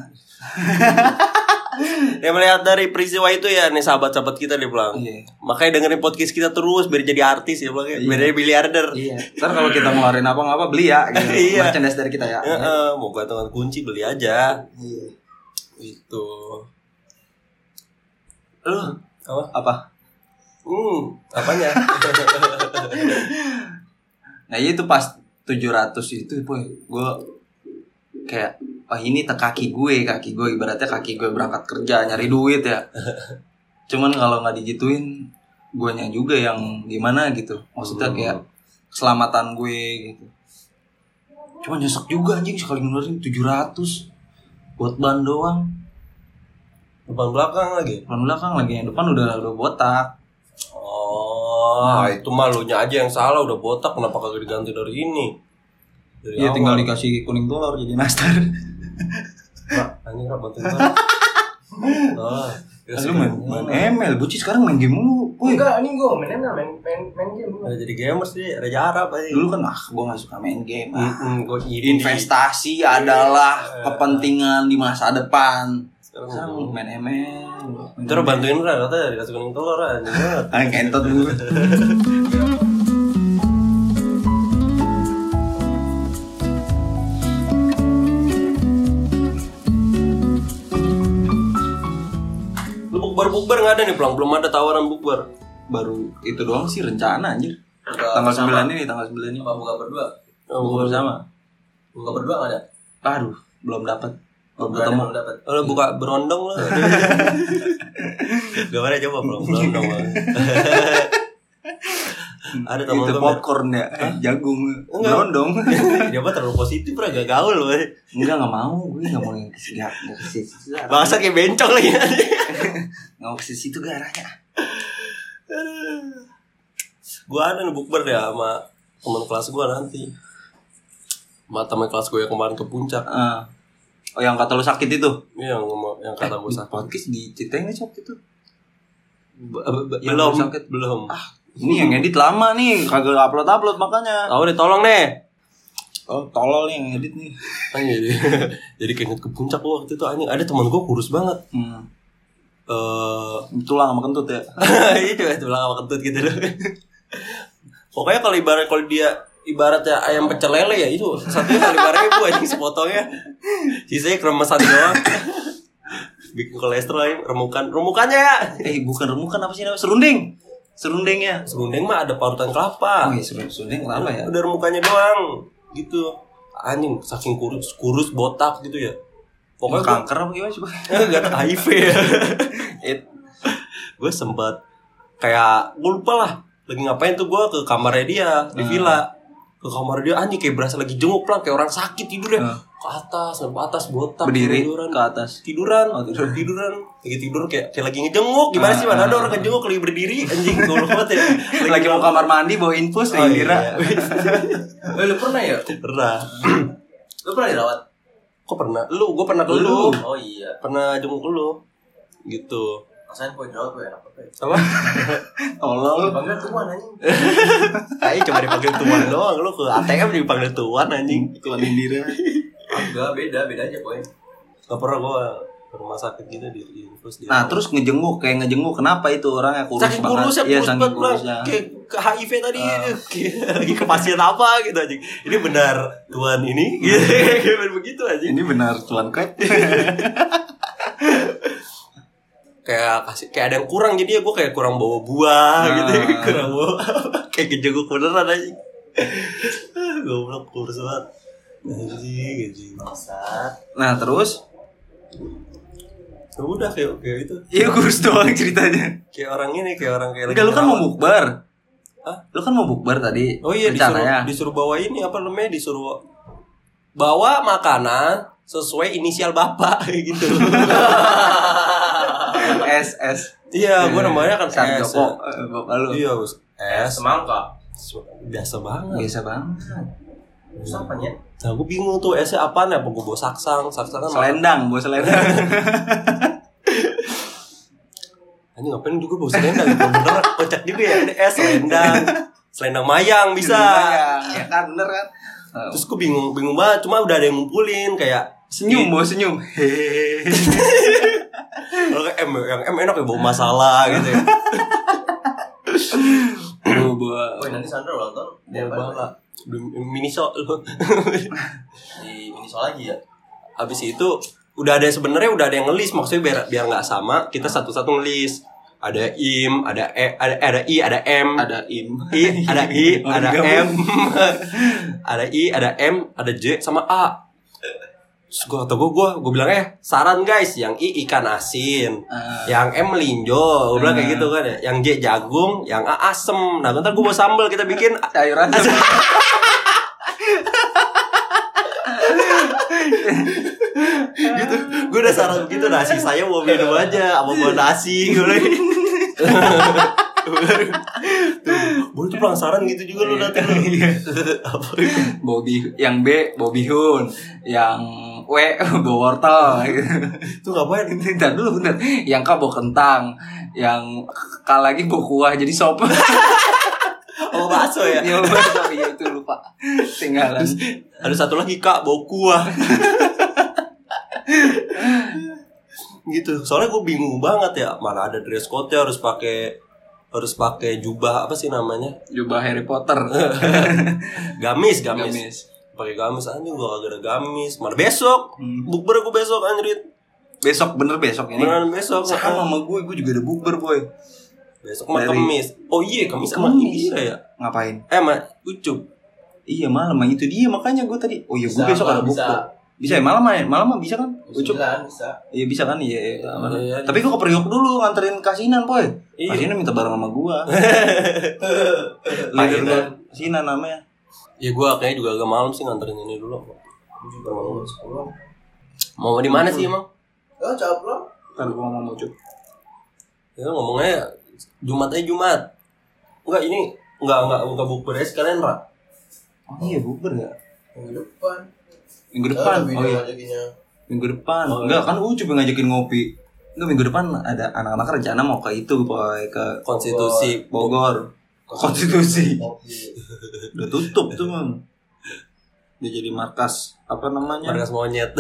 [SPEAKER 1] ya melihat dari peristiwa itu ya nih sahabat-sahabat kita di pulang.
[SPEAKER 2] iya
[SPEAKER 1] Makanya dengerin podcast kita terus biar jadi artis ya pulang ya. Biar jadi miliarder.
[SPEAKER 2] iya ntar kalau kita ngeluarin apa apa beli ya gitu.
[SPEAKER 1] Iya.
[SPEAKER 2] merchandise dari kita ya
[SPEAKER 1] Heeh, mau gantungan kunci beli aja. Gitu.
[SPEAKER 2] Iya.
[SPEAKER 1] Itu.
[SPEAKER 2] lu
[SPEAKER 1] Apa?
[SPEAKER 2] apa
[SPEAKER 1] Hmm, apanya?
[SPEAKER 2] Nah iya itu pas 700 itu boy gue kayak oh ini te kaki gue kaki gue ibaratnya kaki gue berangkat kerja nyari duit ya cuman kalau nggak digituin guanya juga yang gimana gitu maksudnya
[SPEAKER 1] Hmm.
[SPEAKER 2] kayak keselamatan gue gitu cuman nyesek juga anjing sekali ngeluarin 700 buat ban doang
[SPEAKER 1] Depan belakang lagi.
[SPEAKER 2] depan belakang lagi yang depan udah udah botak
[SPEAKER 1] Oh,
[SPEAKER 2] Iya.
[SPEAKER 1] itu malunya aja yang salah udah botak kenapa kagak diganti dari ini? Dari awal.
[SPEAKER 2] ya tinggal dikasih kuning telur jadi nastar
[SPEAKER 1] Pak, anjing rambut itu. Oh, ya
[SPEAKER 2] lu main, main ML buci sekarang main game mulu boy
[SPEAKER 3] Enggak, ini gue main ML, main main main game. gua.
[SPEAKER 1] Udah jadi gamers sih, Raja Arab aja.
[SPEAKER 2] dulu kan ah gue gak suka main game ah.
[SPEAKER 1] Mm, gua iri.
[SPEAKER 2] investasi adalah kepentingan di masa depan sekarang
[SPEAKER 1] Sekarang
[SPEAKER 2] main ML
[SPEAKER 1] Ntar bantuin lu rata dikasih kuning telur anjing. banget.
[SPEAKER 2] ah kentot dulu
[SPEAKER 1] Lu bukber-bukber nggak ada nih pulang, belum ada tawaran bukber.
[SPEAKER 2] baru itu doang sih rencana anjir
[SPEAKER 4] Buka
[SPEAKER 2] tanggal
[SPEAKER 4] bersama.
[SPEAKER 2] 9 ini tanggal 9 ini
[SPEAKER 4] Apa buka berdua?
[SPEAKER 2] buka bersama
[SPEAKER 4] Buka berdua nggak ada?
[SPEAKER 2] aduh belum dapat belum
[SPEAKER 4] Nggak ada,
[SPEAKER 2] ketemu
[SPEAKER 4] belum dapat.
[SPEAKER 1] Kalau buka berondong lah. Gambarnya coba belum berondong. lah. Ada teman
[SPEAKER 2] itu
[SPEAKER 1] gue
[SPEAKER 2] popcorn ya Eh, jagung berondong
[SPEAKER 1] Dia mah terlalu positif lah gak gaul loh.
[SPEAKER 2] enggak nggak mau gue nggak mau yang ke situ nggak ke situ
[SPEAKER 1] Bangsa kayak bencong lagi.
[SPEAKER 2] nggak mau ke situ gak arahnya
[SPEAKER 1] gua ada nih bukber ya sama teman kelas gua nanti. Sama teman kelas gua yang kemarin ke puncak.
[SPEAKER 2] Ah. oh yang kata lu sakit itu
[SPEAKER 1] Ini yang ngomong- yang kata gua
[SPEAKER 2] Di
[SPEAKER 1] sakit.
[SPEAKER 2] podcast diceritain aja waktu itu
[SPEAKER 1] B- b-
[SPEAKER 2] Yang
[SPEAKER 1] Belum,
[SPEAKER 2] gua sakit.
[SPEAKER 1] belum.
[SPEAKER 2] Ini yang edit lama nih, kagak upload upload makanya.
[SPEAKER 1] Tahu deh tolong nih.
[SPEAKER 2] Oh, tolol nih yang edit nih.
[SPEAKER 1] Anjing, jadi, jadi keinget ke puncak gua waktu itu anjing ada teman gua kurus banget.
[SPEAKER 2] Hmm,
[SPEAKER 1] Eh
[SPEAKER 2] tulang sama kentut ya.
[SPEAKER 1] itu ya tulang sama kentut gitu loh pokoknya kalau ibarat kalau dia ibaratnya ayam pecel lele ya itu satunya kali lima ribu anjing sepotongnya sisanya kremesan doang bikin kolesterol aja, remukan remukannya ya
[SPEAKER 2] eh, bukan remukan apa sih namanya? Serunding. Serunding ya.
[SPEAKER 1] serundeng mah ada parutan
[SPEAKER 2] Oh,
[SPEAKER 1] kelapa
[SPEAKER 2] iya, serunding, serunding kenapa ya?
[SPEAKER 1] udah remukannya doang gitu anjing saking kurus kurus botak gitu ya
[SPEAKER 2] Pokoknya
[SPEAKER 1] pokoknya
[SPEAKER 2] kanker apa gimana sih, Pak?
[SPEAKER 1] gue gak ada HIV ya
[SPEAKER 2] Eh,
[SPEAKER 1] gue Hmm. sempet kayak gue lupa lah lagi ngapain tuh gue ke kamarnya dia di villa ke kamar dia anjing kayak berasa lagi jenguk pelan kayak orang sakit tidur ya
[SPEAKER 2] Nah.
[SPEAKER 1] ke atas sampai ke atas botak
[SPEAKER 2] berdiri
[SPEAKER 1] tiduran
[SPEAKER 2] ke atas
[SPEAKER 1] tiduran
[SPEAKER 2] Oh,
[SPEAKER 1] tiduran Ah,
[SPEAKER 2] tiduran.
[SPEAKER 1] lagi tidur kayak kayak lagi ngejenguk gimana sih mana ada orang ngejenguk lagi berdiri anjing goblok banget ya
[SPEAKER 2] lagi mau kamar mandi bawa infus
[SPEAKER 1] Oh,
[SPEAKER 2] lagi
[SPEAKER 1] iya.
[SPEAKER 2] Dira.
[SPEAKER 4] Eh, lu pernah ya?
[SPEAKER 1] pernah
[SPEAKER 4] Lu pernah dirawat?
[SPEAKER 1] kok pernah lu gue pernah ke lu
[SPEAKER 4] Oh iya.
[SPEAKER 1] pernah jenguk lu gitu
[SPEAKER 4] Masain gua dirawat gue enak banget.
[SPEAKER 1] apa
[SPEAKER 2] tolol
[SPEAKER 4] Panggil tuan anjing.
[SPEAKER 1] Ayo cuma dipanggil tuan doang lu ke ATM dipanggil tuan anjing
[SPEAKER 2] tuan Oh, Indira
[SPEAKER 4] Enggak, beda, beda aja poin.
[SPEAKER 1] Gak pernah gue ke rumah sakit gitu di di infus di
[SPEAKER 2] nah terus ngejenguk kayak ngejenguk kenapa itu orangnya kurus
[SPEAKER 1] saking
[SPEAKER 2] banget
[SPEAKER 1] kurus ya
[SPEAKER 2] Iya,
[SPEAKER 1] kurus
[SPEAKER 2] saking
[SPEAKER 1] banget Bang.
[SPEAKER 2] kurusnya Ah.
[SPEAKER 1] kayak ke HIV tadi Kayak lagi ke pasien apa gitu anjing ini benar tuan ini gitu kayak begitu anjing
[SPEAKER 2] ini benar tuan kret
[SPEAKER 1] kayak kasih kayak ada yang kurang jadi ya gue kayak kurang bawa buah
[SPEAKER 2] Nah.
[SPEAKER 1] gitu kurang bawa kayak kejenguk beneran anjing goblok kurus banget anjing anjing
[SPEAKER 4] Masa.
[SPEAKER 2] nah terus
[SPEAKER 1] Ya udah kayak kayak itu
[SPEAKER 2] iya kurus doang ceritanya
[SPEAKER 1] kayak orang ini kayak orang kayak
[SPEAKER 2] enggak lu kan mau
[SPEAKER 1] ngerawat.
[SPEAKER 2] bukber
[SPEAKER 1] Hah?
[SPEAKER 2] lu kan mau bukber tadi
[SPEAKER 1] Oh iya
[SPEAKER 2] rencananya
[SPEAKER 1] disuruh disuruh bawa ini apa namanya disuruh bawa makanan sesuai inisial bapak gitu.
[SPEAKER 2] S S
[SPEAKER 1] iya, gua namanya kan S, ya.
[SPEAKER 2] Sarjoko eh, bapak lu
[SPEAKER 1] Iya, Bos.
[SPEAKER 4] Eh,
[SPEAKER 1] S
[SPEAKER 4] semangka.
[SPEAKER 1] biasa banget.
[SPEAKER 2] biasa banget
[SPEAKER 4] Terus apa ya?
[SPEAKER 1] Nah, gua bingung tuh S apaan ya? Apa gua bawa saksang? Saksang kan
[SPEAKER 2] selendang bawa selendang
[SPEAKER 1] Ini ngapain juga bawa selendang? Gua bener kocak juga ya. Ini S selendang. Selendang mayang bisa.
[SPEAKER 2] ya kan bener kan
[SPEAKER 1] Terus gua bingung, bingung banget. Cuma udah ada yang ngumpulin kayak
[SPEAKER 2] senyum bawa senyum hehehe
[SPEAKER 1] Kalau kayak M yang M enak ya bawa masalah gitu ya.
[SPEAKER 2] Lu bawa
[SPEAKER 4] Poin nanti Sandra ulang tahun. di
[SPEAKER 2] Iya,
[SPEAKER 1] Bawa
[SPEAKER 4] apa?
[SPEAKER 1] bala. Miniso lu.
[SPEAKER 4] Di Miniso lagi ya?
[SPEAKER 1] habis itu udah ada sebenarnya udah ada yang ngelis maksudnya biar biar nggak sama kita satu-satu ngelis ada im ada e ada ada i ada m
[SPEAKER 2] ada im
[SPEAKER 1] i ada i
[SPEAKER 2] Orang
[SPEAKER 1] ada
[SPEAKER 2] gabung.
[SPEAKER 1] m ada i ada m ada j sama a Terus gue kata gue, gue, gue bilang eh saran guys, yang I ikan asin,
[SPEAKER 2] Ah.
[SPEAKER 1] yang M melinjo, gue bilang kayak gitu kan ya, yang J jagung, yang A asem. Nah ntar gue mau sambel kita bikin
[SPEAKER 2] sayuran
[SPEAKER 1] gitu gue udah saran begitu nasi saya mau minum aja apa mau nasi gue lagi boleh tuh pulang saran gitu juga lu nanti lu. apa
[SPEAKER 2] Bobby yang B Bobby Hun yang W bawa wortel gitu.
[SPEAKER 1] itu ngapain
[SPEAKER 2] Bentar dulu bener Yang K bawa kentang Yang K lagi bawa kuah jadi sop
[SPEAKER 1] oh bakso ya
[SPEAKER 2] Ya lupa, sorry, ya itu lupa Tinggalan
[SPEAKER 1] ada satu lagi kak bau kuah gitu soalnya gue bingung banget ya mana ada dress code nya harus pakai harus pakai jubah apa sih namanya
[SPEAKER 2] Jubah Harry Potter
[SPEAKER 1] gamis gamis,
[SPEAKER 2] Gamis
[SPEAKER 1] pakai gamis anjing gue kagak ada gamis mana besok
[SPEAKER 2] Hmm.
[SPEAKER 1] bukber gue besok anjrit
[SPEAKER 2] Besok bener besok ini
[SPEAKER 1] Beneran besok
[SPEAKER 2] Sama
[SPEAKER 1] ah.
[SPEAKER 2] sama gue, gue juga ada bukber boy
[SPEAKER 1] Besok mah
[SPEAKER 2] Dari-
[SPEAKER 1] Kamis Oh iya Kamis sama
[SPEAKER 2] Kamis.
[SPEAKER 1] Indira ya
[SPEAKER 2] Ngapain?
[SPEAKER 1] Eh sama Ucup
[SPEAKER 2] Iya malam, nah, itu dia makanya gue tadi Oh iya gue
[SPEAKER 4] Bisa,
[SPEAKER 2] besok
[SPEAKER 4] Bang,
[SPEAKER 2] ada
[SPEAKER 4] bisa.
[SPEAKER 2] bukber Bisa ya malam ya? Malam mah bisa kan? Ucup
[SPEAKER 4] Sembilan bisa.
[SPEAKER 2] Iya bisa kan? Iya, iya.
[SPEAKER 1] Iya, iya.
[SPEAKER 2] Tapi gue ke Priok dulu nganterin kasinan, boy.
[SPEAKER 1] Iya.
[SPEAKER 2] Kasinan minta bareng sama gua. Leader
[SPEAKER 1] Kasinan.
[SPEAKER 2] gua kasinan namanya.
[SPEAKER 1] Ya gue kayaknya juga agak malam sih nganterin ini dulu
[SPEAKER 4] Bangun sepuluh.
[SPEAKER 1] Mau di mana
[SPEAKER 2] Hmm.
[SPEAKER 1] sih emang?
[SPEAKER 4] Oh, jawab lo.
[SPEAKER 2] Ntar gua ngomong ucup.
[SPEAKER 1] Ya ngomongnya Jumat aja Jumat Enggak ini Enggak enggak buka bukber aja sekalian Ra
[SPEAKER 2] Oh iya, bukber ya?
[SPEAKER 4] Minggu depan.
[SPEAKER 2] Minggu depan.
[SPEAKER 4] Oh,
[SPEAKER 2] Oh iya,
[SPEAKER 4] Jadinya.
[SPEAKER 2] minggu depan. Enggak kan ucup yang ngajakin ngopi. Enggak minggu depan ada anak-anak rencana mau ke itu, boy, ke
[SPEAKER 1] Konstitusi
[SPEAKER 2] Bogor. Konstitusi.
[SPEAKER 4] Kopi.
[SPEAKER 2] Udah tutup tuh, Bang. Udah jadi markas apa namanya?
[SPEAKER 1] Markas monyet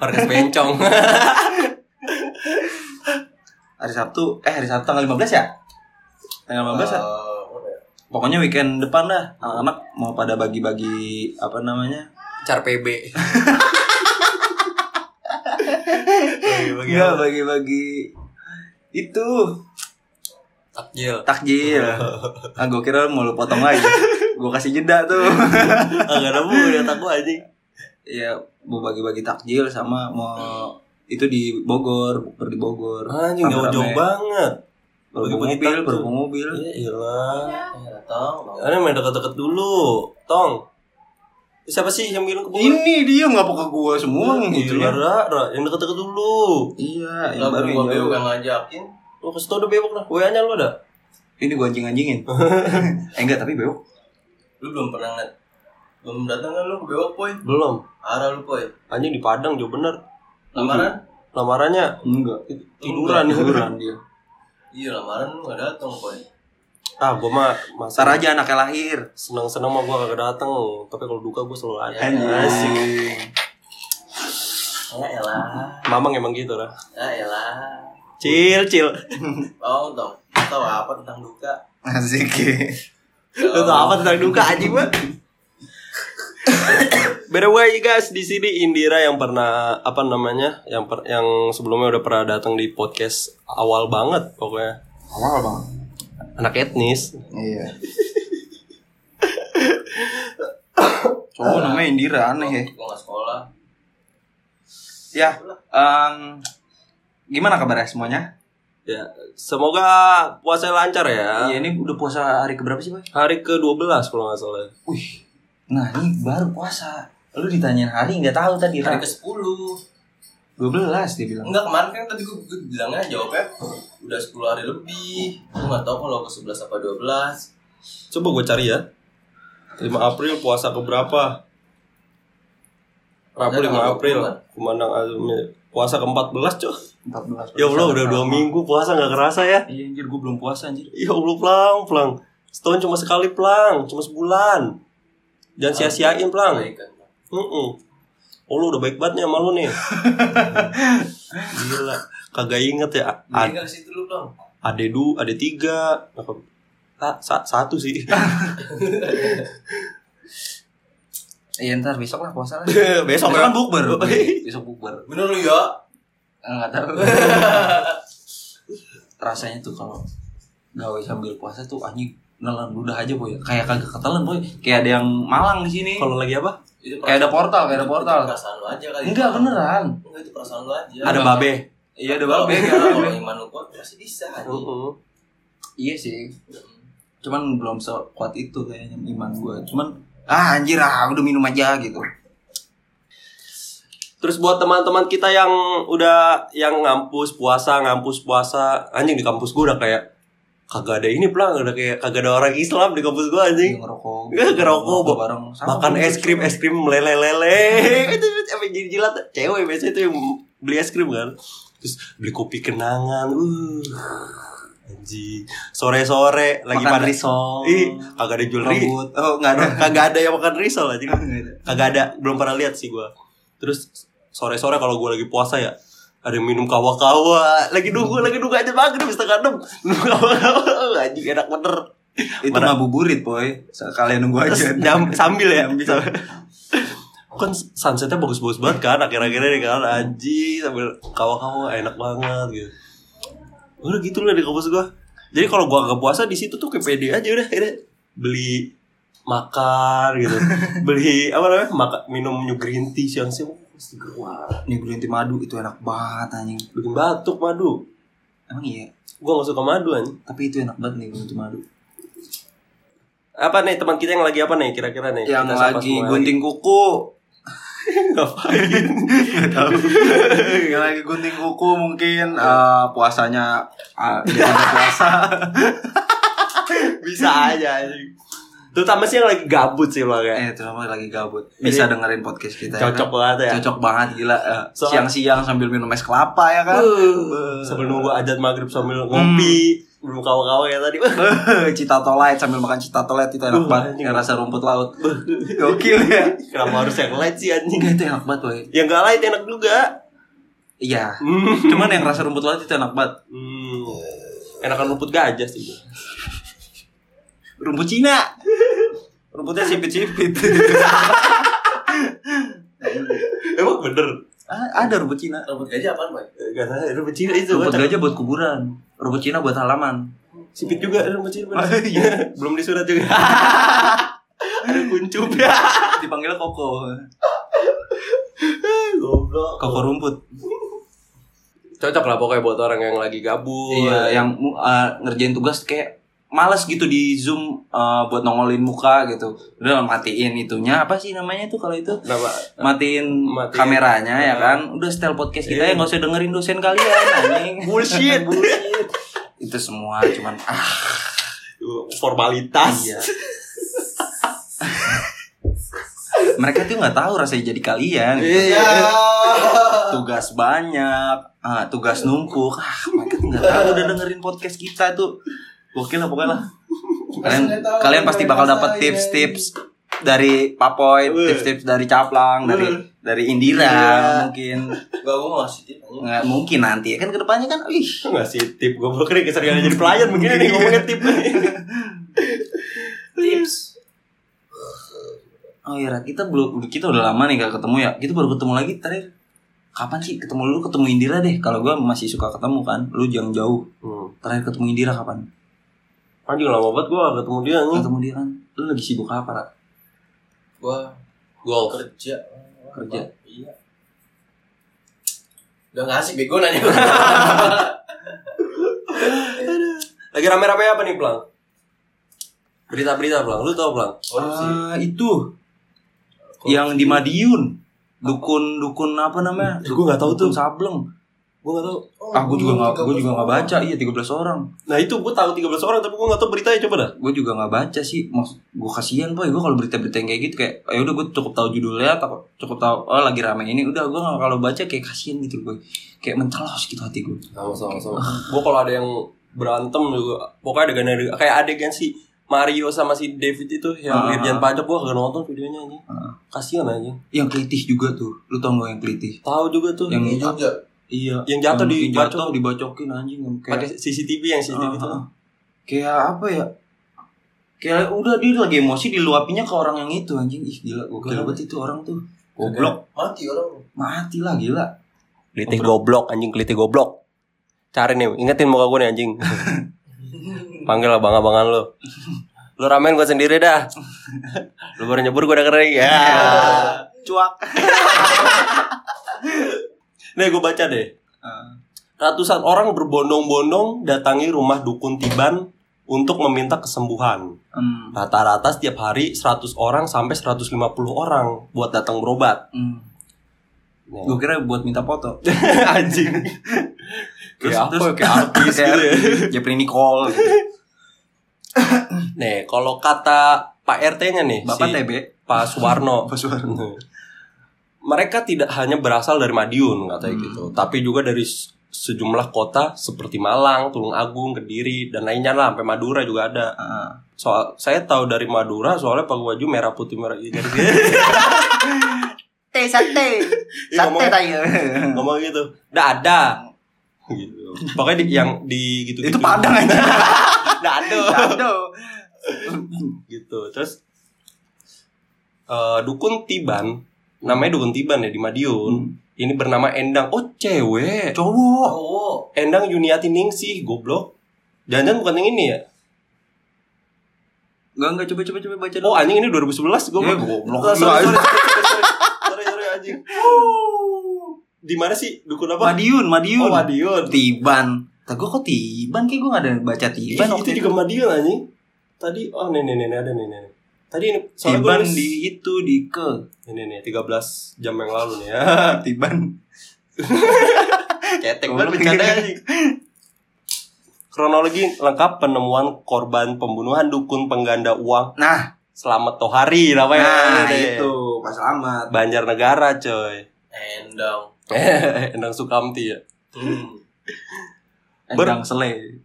[SPEAKER 1] Markas bencong
[SPEAKER 2] Hari Sabtu, eh hari Sabtu tanggal 15 ya? Tanggal 15 ya?
[SPEAKER 4] Eh, apa ya?
[SPEAKER 2] pokoknya weekend depan dah anak-anak mau pada bagi-bagi apa namanya
[SPEAKER 1] Car PB
[SPEAKER 2] Iya bagi-bagi itu
[SPEAKER 1] Takjil
[SPEAKER 2] takjil ah gue kira mau lu potong lagi gue kasih jeda tuh
[SPEAKER 1] Agak nemu udah takut anjing
[SPEAKER 2] ya mau bagi-bagi takjil sama mau itu di Bogor bukber di Bogor
[SPEAKER 1] Anjing
[SPEAKER 2] Rame-rame.
[SPEAKER 1] jauh-jauh banget
[SPEAKER 2] Berbau
[SPEAKER 1] Bagi-bagi
[SPEAKER 2] mobil,
[SPEAKER 1] takjil.
[SPEAKER 2] berbau mobil.
[SPEAKER 1] Ya iyalah.
[SPEAKER 4] Eh, datang. bang.
[SPEAKER 1] Karena main deket-deket dulu, Tong. Siapa sih yang bilang kebun?
[SPEAKER 2] Ini dia nggak pakai gua semua gitu
[SPEAKER 1] Gila, Iya,
[SPEAKER 2] ya.
[SPEAKER 1] Ra, Ra, yang deket-deket dulu.
[SPEAKER 2] Iya,
[SPEAKER 4] Lah,
[SPEAKER 2] yang baru
[SPEAKER 4] gua
[SPEAKER 2] yang
[SPEAKER 4] beo
[SPEAKER 2] jauh.
[SPEAKER 4] yang ngajakin.
[SPEAKER 1] Lu kasih tau udah bebok dah, WA-nya lu ada?
[SPEAKER 2] Ini gua anjing-anjingin. eh enggak, tapi beok.
[SPEAKER 4] Lu belum pernah ngeliat. Belum datang kan lu ke bewok, Poy?
[SPEAKER 1] Belum.
[SPEAKER 4] Arah lu, Poy.
[SPEAKER 1] Anjing di Padang jauh bener.
[SPEAKER 4] Lamaran?
[SPEAKER 1] Lamarannya
[SPEAKER 2] Enggak.
[SPEAKER 1] tiduran.
[SPEAKER 2] Tiduran dia.
[SPEAKER 4] Iya, lamaran lu nggak datang, Poy.
[SPEAKER 1] Ah, gua mah masa
[SPEAKER 2] Ntar aja anaknya lahir.
[SPEAKER 1] seneng-seneng mah gua kagak datang, tapi kalau duka gua selalu ada.
[SPEAKER 2] Anjing.
[SPEAKER 4] Ya elah.
[SPEAKER 1] Mamang emang gitu lah.
[SPEAKER 4] Ya elah.
[SPEAKER 1] Cil, cil.
[SPEAKER 4] Tau dong, tahu apa tentang duka?
[SPEAKER 2] Asik.
[SPEAKER 1] Lu tau apa tentang duka anjing gua? By the way guys, di sini Indira yang pernah apa namanya? Yang per, yang sebelumnya udah pernah datang di podcast awal banget pokoknya.
[SPEAKER 2] Awal, Bang.
[SPEAKER 1] Anak etnis.
[SPEAKER 2] Iya. Cowok namanya Indira aneh ya.
[SPEAKER 4] Gua nggak sekolah.
[SPEAKER 2] Ya, em, gimana kabarnya semuanya?
[SPEAKER 1] Ya, semoga puasanya lancar ya.
[SPEAKER 2] Iya, ini udah puasa hari keberapa sih, Pak?
[SPEAKER 1] Hari ke-12 kalau nggak salah.
[SPEAKER 2] Wih, nah ini baru puasa. Lu ditanyain hari nggak tahu tadi
[SPEAKER 4] Hari
[SPEAKER 2] Ra.
[SPEAKER 4] ke 10
[SPEAKER 2] 12 dia bilang.
[SPEAKER 4] Enggak kemarin kan tadi gue, bilangnya jawabnya udah 10 hari lebih. Gue nggak tahu kalau ke 11 apa 12.
[SPEAKER 1] Coba gue cari ya. 5 April puasa ke berapa? Rabu
[SPEAKER 4] Ya,
[SPEAKER 1] 5 April.
[SPEAKER 4] bukan.
[SPEAKER 1] Kumandang azumnya. Puasa ke-14, Cok.
[SPEAKER 2] 14.
[SPEAKER 1] Ya Allah, udah 2 minggu puasa nggak kerasa ya.
[SPEAKER 2] Iya anjir gue belum puasa anjir.
[SPEAKER 1] Ya Allah, pelang, pelang. Setahun cuma sekali, pelang. Cuma sebulan. Jangan sia-siain, pelang.
[SPEAKER 4] Baik kan.
[SPEAKER 1] Heeh. Oh, lu udah baik banget nih sama lu nih. Gila. Kagak inget ya. A-
[SPEAKER 2] Iya.
[SPEAKER 4] Jadi nggak ke situ lu dong.
[SPEAKER 1] ada dua ada tiga apa Sa- sa- satu sih
[SPEAKER 2] Iya ntar besok lah puasa lah.
[SPEAKER 1] besok
[SPEAKER 2] Besok
[SPEAKER 1] kan
[SPEAKER 2] kan
[SPEAKER 1] bu
[SPEAKER 2] bukber.
[SPEAKER 1] Wih.
[SPEAKER 2] Besok bukber.
[SPEAKER 4] Bener lu ya?
[SPEAKER 2] Enggak Ah, tahu. Rasanya tuh kalau gawe sambil puasa tuh anjing nelan ludah aja boy. Kayak kagak ketelan boy. Kayak ada yang malang di sini.
[SPEAKER 1] kalau lagi apa
[SPEAKER 4] Itu
[SPEAKER 2] Kayak ada portal, kayak ada
[SPEAKER 4] itu-
[SPEAKER 2] portal.
[SPEAKER 4] itu perasaan lu aja kali.
[SPEAKER 2] Enggak beneran.
[SPEAKER 4] Enggak itu perasaan lu aja.
[SPEAKER 1] ada babe
[SPEAKER 2] Iya ada
[SPEAKER 4] Kalau-
[SPEAKER 2] babe.
[SPEAKER 4] Kalau iman lu kuat pasti bisa. anjing.
[SPEAKER 1] Heeh.
[SPEAKER 2] Iya sih. cuman belum sekuat itu kayaknya iman gue cuman ah anjir ah udah minum aja gitu
[SPEAKER 1] terus buat teman-teman kita yang udah yang ngampus puasa ngampus puasa anjing di kampus gua udah kayak kagak ada ini pelang udah kayak kagak ada orang Islam di kampus gua
[SPEAKER 2] Dia
[SPEAKER 1] anjing
[SPEAKER 2] ngerokok
[SPEAKER 1] Iya, ngerokok, Bo.
[SPEAKER 2] bareng Sama
[SPEAKER 1] makan
[SPEAKER 2] gua.
[SPEAKER 1] es krim es krim lele lele itu sampai jadi jilat cewek biasanya itu yang beli es krim kan terus beli kopi kenangan uh anjing sore sore lagi
[SPEAKER 2] makan
[SPEAKER 1] pada
[SPEAKER 2] risol
[SPEAKER 1] Ih, kagak ada jewelry.
[SPEAKER 2] rambut oh nggak ada
[SPEAKER 1] Kagak ada yang makan risol aja.
[SPEAKER 2] Nggak ada.
[SPEAKER 1] Kagak ada, belum pernah lihat sih gua. Terus sore-sore kalau gua lagi puasa ya, ada yang minum kawa-kawa. Lagi nunggu, lagi nunggu aja maghrib setengah enam. Minum kawa-kawa, anjing enak bener.
[SPEAKER 2] itu
[SPEAKER 1] Mana-
[SPEAKER 2] mah buburit boy kalian nunggu
[SPEAKER 1] Terus
[SPEAKER 2] aja
[SPEAKER 1] nyam- sambil ya.
[SPEAKER 2] Nyambil.
[SPEAKER 1] kan sunsetnya bagus-bagus banget kan akhir-akhirnya nih kan anjing sambil kawa-kawa enak banget gitu udah gitu lah di kampus gua jadi kalau gua nggak puasa di situ tuh kayak pede aja udah akhirnya beli makan gitu beli apa namanya makan minum new green tea siang siang mesti gua
[SPEAKER 2] nih green tea madu itu enak banget anjing
[SPEAKER 1] bikin batuk madu
[SPEAKER 2] emang iya
[SPEAKER 1] gua nggak suka madu anjing
[SPEAKER 2] tapi itu enak banget nih green tea madu
[SPEAKER 1] apa nih teman kita yang lagi apa nih kira-kira nih
[SPEAKER 2] yang
[SPEAKER 1] Kita sapa
[SPEAKER 2] lagi
[SPEAKER 1] semua.
[SPEAKER 2] gunting kuku
[SPEAKER 1] ngapain
[SPEAKER 2] yang lagi gunting kuku mungkin eh, puasanya eh, dia ada puasa
[SPEAKER 1] bisa aja anjing terutama sih yang lagi gabut sih lo kayak
[SPEAKER 2] eh terutama lagi gabut bisa dengerin podcast kita ya
[SPEAKER 1] cocok
[SPEAKER 2] kan?
[SPEAKER 1] banget ya
[SPEAKER 2] Iya. Cocok banget gila. Eh,
[SPEAKER 1] Soal-
[SPEAKER 2] Siang-siang sambil minum es kelapa ya kan.
[SPEAKER 1] Uh, sambil nunggu adat maghrib sambil ngopi belum kawa-kawa ya tadi
[SPEAKER 2] Eh, cita tolet sambil makan cita tolet itu
[SPEAKER 1] Uh,
[SPEAKER 2] enak banget.
[SPEAKER 1] anjing.
[SPEAKER 2] Yang rasa rumput laut. Gokil ya.
[SPEAKER 1] kenapa harus yang light sih anjing
[SPEAKER 2] Enggak Iya, itu enak banget boy.
[SPEAKER 1] yang gak light enak juga
[SPEAKER 2] Iya.
[SPEAKER 1] hmm.
[SPEAKER 2] Cuman yang rasa rumput laut itu enak banget.
[SPEAKER 1] enakan rumput gajah sih
[SPEAKER 2] Rumput Cina. Rumputnya sipit-sipit.
[SPEAKER 1] emang Oh, bener
[SPEAKER 2] Ah, Ada rumput Cina.
[SPEAKER 4] Rambut gajah apaan, Boy?
[SPEAKER 1] gak tahu rumput cina itu
[SPEAKER 2] Rumput
[SPEAKER 1] kan
[SPEAKER 2] gajah buat kuburan. Rumput Cina buat halaman.
[SPEAKER 1] sipit juga rumput cina bener.
[SPEAKER 2] Iya.
[SPEAKER 1] belum disurat juga ada kuncup ya
[SPEAKER 2] Dipanggil koko. Iya,
[SPEAKER 1] goblok
[SPEAKER 2] Koko rumput.
[SPEAKER 1] Cocok lah pokoknya buat orang yang lagi gabut.
[SPEAKER 2] Iya, yang mu- eh, ngerjain tugas kayak males gitu di Zoom eh, buat nongolin muka gitu. Udah lah, matiin itunya apa sih namanya tuh kalau itu?
[SPEAKER 1] Kenapa?
[SPEAKER 2] Matiin,
[SPEAKER 1] Matiin.
[SPEAKER 2] kameranya ya kan. Udah setel podcast kita
[SPEAKER 1] Iya.
[SPEAKER 2] ya nggak usah dengerin dosen kalian anjing.
[SPEAKER 1] Bullshit. Bullshit.
[SPEAKER 2] itu semua cuman ah
[SPEAKER 1] Formalitas.
[SPEAKER 2] iya. Mereka tuh nggak tahu rasanya jadi kalian. gitu.
[SPEAKER 1] Iya.
[SPEAKER 4] Ya.
[SPEAKER 2] Tugas banyak, ah, tugas numpuk. Ah, mereka tuh nggak tahu udah dengerin podcast kita tuh. Gokil lah pokoknya lah. kalian
[SPEAKER 3] Pasti nggak tahu
[SPEAKER 2] kalian pasti bakal
[SPEAKER 3] mereka
[SPEAKER 2] dapat
[SPEAKER 3] saya.
[SPEAKER 2] tips-tips dari Papoy,
[SPEAKER 1] Wih.
[SPEAKER 2] tips-tips dari Caplang, dari
[SPEAKER 1] Wih.
[SPEAKER 2] dari Indira
[SPEAKER 1] Iya.
[SPEAKER 2] mungkin
[SPEAKER 4] Gak gue mau ngasih tip aja.
[SPEAKER 2] nggak mungkin nanti kan kedepannya kan, ih
[SPEAKER 1] Lu ngasih tip gue kira keseringan jadi pelayan begini nih ngomongnya tip nih.
[SPEAKER 4] Tips.
[SPEAKER 2] oh iya Rat, kita belum kita udah lama nih gak ketemu ya, kita baru ketemu lagi terakhir kapan sih ketemu lu ketemu Indira deh kalau gua masih suka ketemu kan lu jangan jauh
[SPEAKER 1] Hmm.
[SPEAKER 2] terakhir ketemu Indira kapan
[SPEAKER 1] Anjing lama banget gue ketemu dia nih.
[SPEAKER 2] ketemu dia kan lu lagi sibuk apa Rat?
[SPEAKER 4] Gue
[SPEAKER 1] Golf.
[SPEAKER 4] kerja.
[SPEAKER 2] Kerja.
[SPEAKER 4] Iya. Udah nggak asik bego nanya gue.
[SPEAKER 2] Ah.
[SPEAKER 1] Lagi rame-rame apa nih Plang? Berita-berita Plang, lu tau Plang?
[SPEAKER 4] Korupsi.
[SPEAKER 2] Ah, itu yang di Madiun dukun dukun apa namanya
[SPEAKER 1] Gue gak Eh, tahu
[SPEAKER 2] dukun
[SPEAKER 1] tuh
[SPEAKER 2] sableng
[SPEAKER 1] Gue gak tau
[SPEAKER 2] Ah, gue juga
[SPEAKER 4] Oh,
[SPEAKER 2] nggak, gue juga nggak baca. Iya, 13 orang.
[SPEAKER 1] Nah itu gue tahu 13 orang tapi gue gak tau beritanya coba dah
[SPEAKER 2] Gue juga nggak baca sih. Maksud, gue kasihan boy. Gue kalau berita-berita yang kayak gitu kayak, ya udah gue cukup tahu judulnya, atau cukup tahu oh lagi rame ini. Udah gue nggak kalau baca kayak kasihan gitu boy. Kayak mencelos gitu hati gue.
[SPEAKER 1] Sama-sama Gue kalau ada yang berantem juga Pokoknya adegan adegan Kayak adegan si Mario sama si David itu Yang
[SPEAKER 2] Ah.
[SPEAKER 1] Dirjen Pajak gue gak nonton videonya anjing
[SPEAKER 2] Ah.
[SPEAKER 1] Kasian anjing
[SPEAKER 2] Yang kelitih juga tuh. Lu tau gak yang kelitih?
[SPEAKER 1] Tahu juga tuh
[SPEAKER 2] Yang-
[SPEAKER 4] Di Jogja.
[SPEAKER 2] Iya.
[SPEAKER 1] Yang jatuh
[SPEAKER 2] Yang
[SPEAKER 1] dibacok.
[SPEAKER 2] jatuh dibacokin anjing. Yang kayak,
[SPEAKER 1] pakai CCTV yang CCTV itu
[SPEAKER 2] Ah, ah. Kayak apa ya? Kayak udah dia lagi emosi diluapinya ke orang yang itu anjing. Ih gila, gokil banget itu orang tuh. Goblok,
[SPEAKER 4] Mati orang.
[SPEAKER 2] mati lah gila.
[SPEAKER 1] Kelitih goblok anjing kelitih goblok Cari nih ingetin muka gue nih anjing Panggil lah bang-abangan lo Lo ramen gue sendiri dah Lo baru nyebur gue udah kering ya.
[SPEAKER 2] Ah. Cuak.
[SPEAKER 1] Nih gue baca deh
[SPEAKER 2] Ah.
[SPEAKER 1] Ratusan orang berbondong-bondong datangi rumah dukun Tiban untuk meminta kesembuhan.
[SPEAKER 2] Hmm.
[SPEAKER 1] Rata-rata setiap hari 100 orang sampai 150 orang buat datang berobat.
[SPEAKER 2] Hmm.
[SPEAKER 1] Nih.
[SPEAKER 2] Gue kira buat minta foto.
[SPEAKER 1] Anjing.
[SPEAKER 2] Terus
[SPEAKER 1] Kayak
[SPEAKER 2] terus
[SPEAKER 1] apa?
[SPEAKER 2] kayak artis gitu ya. Jepri Nicole gitu.
[SPEAKER 1] Nih, kalau kata Pak RT-nya nih, si
[SPEAKER 2] Bapak TB.
[SPEAKER 1] Pak Suwarno.
[SPEAKER 2] Bapak Suwarno.
[SPEAKER 1] Mereka tidak hanya berasal dari Madiun katanya
[SPEAKER 2] Hmm.
[SPEAKER 1] gitu, tapi juga dari se- sejumlah kota seperti Malang, Tulungagung, Kediri dan lainnya lah sampai Madura juga ada.
[SPEAKER 2] Ah.
[SPEAKER 1] Soal saya tahu dari Madura soalnya pakai baju merah putih merah dari
[SPEAKER 2] Te sate.
[SPEAKER 1] Iya, ngomong-
[SPEAKER 2] tayo.
[SPEAKER 1] ngomong gitu. Dah ada. Gitu. Pokoknya di- yang di gitu
[SPEAKER 2] Itu Padang aja.
[SPEAKER 1] Dah ada.
[SPEAKER 2] Aduh.
[SPEAKER 1] gitu terus eh, dukun tiban namanya dukun tiban ya di Madiun ini bernama Endang oh cewek
[SPEAKER 2] Cowok.
[SPEAKER 4] Oh.
[SPEAKER 1] Endang Yuniati Ningsih goblok jangan-jangan bukan yang ini ya
[SPEAKER 2] Enggak enggak coba coba coba baca dulu.
[SPEAKER 1] oh anjing ini 2011 goblok
[SPEAKER 2] Eh, goblok.
[SPEAKER 1] Oh, sorry, sorry,
[SPEAKER 2] Iya.
[SPEAKER 1] sorry, sorry, sorry. Sorry, sorry, anjing di mana sih dukun apa
[SPEAKER 2] Madiun, Madiun.
[SPEAKER 1] oh Madiun
[SPEAKER 2] Tiban. Tapi gue kok Tiban kayak gue gak ada baca
[SPEAKER 1] Ih,
[SPEAKER 2] Tiban
[SPEAKER 1] Iya,
[SPEAKER 2] waktu
[SPEAKER 1] itu juga Madiun anjing tadi oh nenek nenek ada nenek nenek tadi ini soalnya gue
[SPEAKER 2] Tiban
[SPEAKER 1] nulis-
[SPEAKER 2] di itu di ke
[SPEAKER 1] ini nih 13 jam yang lalu nih ya
[SPEAKER 2] Tiban.
[SPEAKER 1] Cetek banget bercandanya, anjing. Kronologi lengkap penemuan korban pembunuhan dukun pengganda uang
[SPEAKER 2] Nah,
[SPEAKER 1] Selamat Tohari namanya.
[SPEAKER 2] nah
[SPEAKER 1] Ini.
[SPEAKER 2] itu Pak Selamat.
[SPEAKER 1] Banjarnegara coy.
[SPEAKER 4] Endang.
[SPEAKER 1] Eh, Endang Sukamti ya.
[SPEAKER 4] Hmm.
[SPEAKER 1] Ber-
[SPEAKER 2] Endang Sele.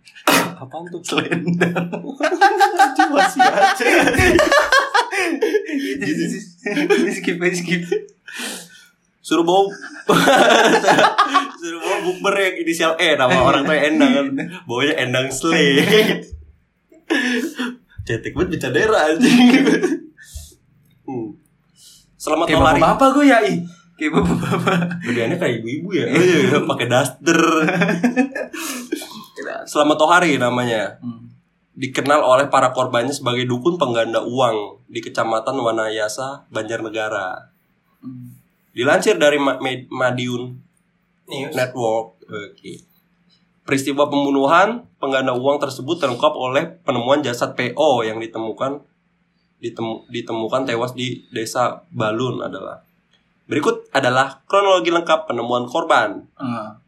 [SPEAKER 1] Apaan tuh?
[SPEAKER 2] Selendang.
[SPEAKER 1] Masih aja.
[SPEAKER 2] skip skip.
[SPEAKER 1] Suruh bawa Suruh bawa bukber yang inisial E nama orang tuh Endang kan. Bawanya Endang Slay. Cetek banget bercandera anjing. Hmm. Selamat
[SPEAKER 2] Kayak
[SPEAKER 1] Tohari.
[SPEAKER 2] bapak-bapak gue ya, ih. Kayak bapak-bapak.
[SPEAKER 1] Gedeannya kayak ibu-ibu ya. Oh, iya, iya, pakai daster. Selamat Tohari namanya.
[SPEAKER 2] Hmm,
[SPEAKER 1] Dikenal oleh para korbannya sebagai dukun pengganda uang di Kecamatan
[SPEAKER 2] hmm,
[SPEAKER 1] Wanayasa, Banjarnegara. Dilansir dari Ma- Med- Madiun.
[SPEAKER 4] News.
[SPEAKER 1] Network. Peristiwa pembunuhan pengganda uang tersebut terungkap oleh penemuan jasad PO yang ditemukan ditemu- ditemukan tewas di desa Balun adalah. Berikut adalah kronologi lengkap penemuan korban.
[SPEAKER 2] Ah,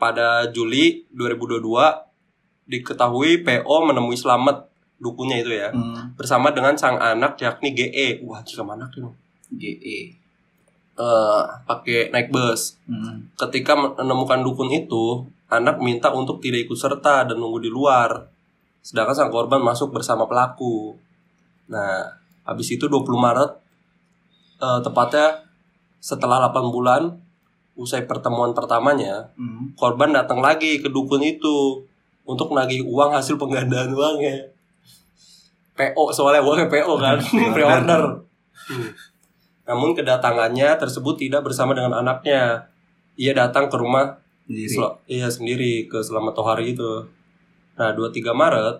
[SPEAKER 1] Pada Juli 2022 diketahui PO menemui Slamet dukunya itu ya
[SPEAKER 2] hmm,
[SPEAKER 1] bersama dengan sang anak yakni GE. Wah, jika anak tuh.
[SPEAKER 2] GE.
[SPEAKER 1] Eh, pakai naik bus.
[SPEAKER 2] Hmm.
[SPEAKER 1] ketika menemukan dukun itu, anak minta untuk tidak ikut serta dan nunggu di luar. Sedangkan sang korban masuk bersama pelaku. Nah, habis itu 20 Maret, eh, tepatnya setelah 8 bulan, usai pertemuan pertamanya,
[SPEAKER 2] Hmm.
[SPEAKER 1] korban datang lagi ke dukun itu untuk nagih uang hasil penggandaan uangnya. PO soalnya uangnya PO kan,
[SPEAKER 2] Iya,
[SPEAKER 1] pre-order. Hmm. Namun kedatangannya tersebut tidak bersama dengan anaknya. Ia datang ke rumah
[SPEAKER 2] Sendiri.
[SPEAKER 1] Sel- iya sendiri ke Selamat Tohari itu. Nah, 23 Maret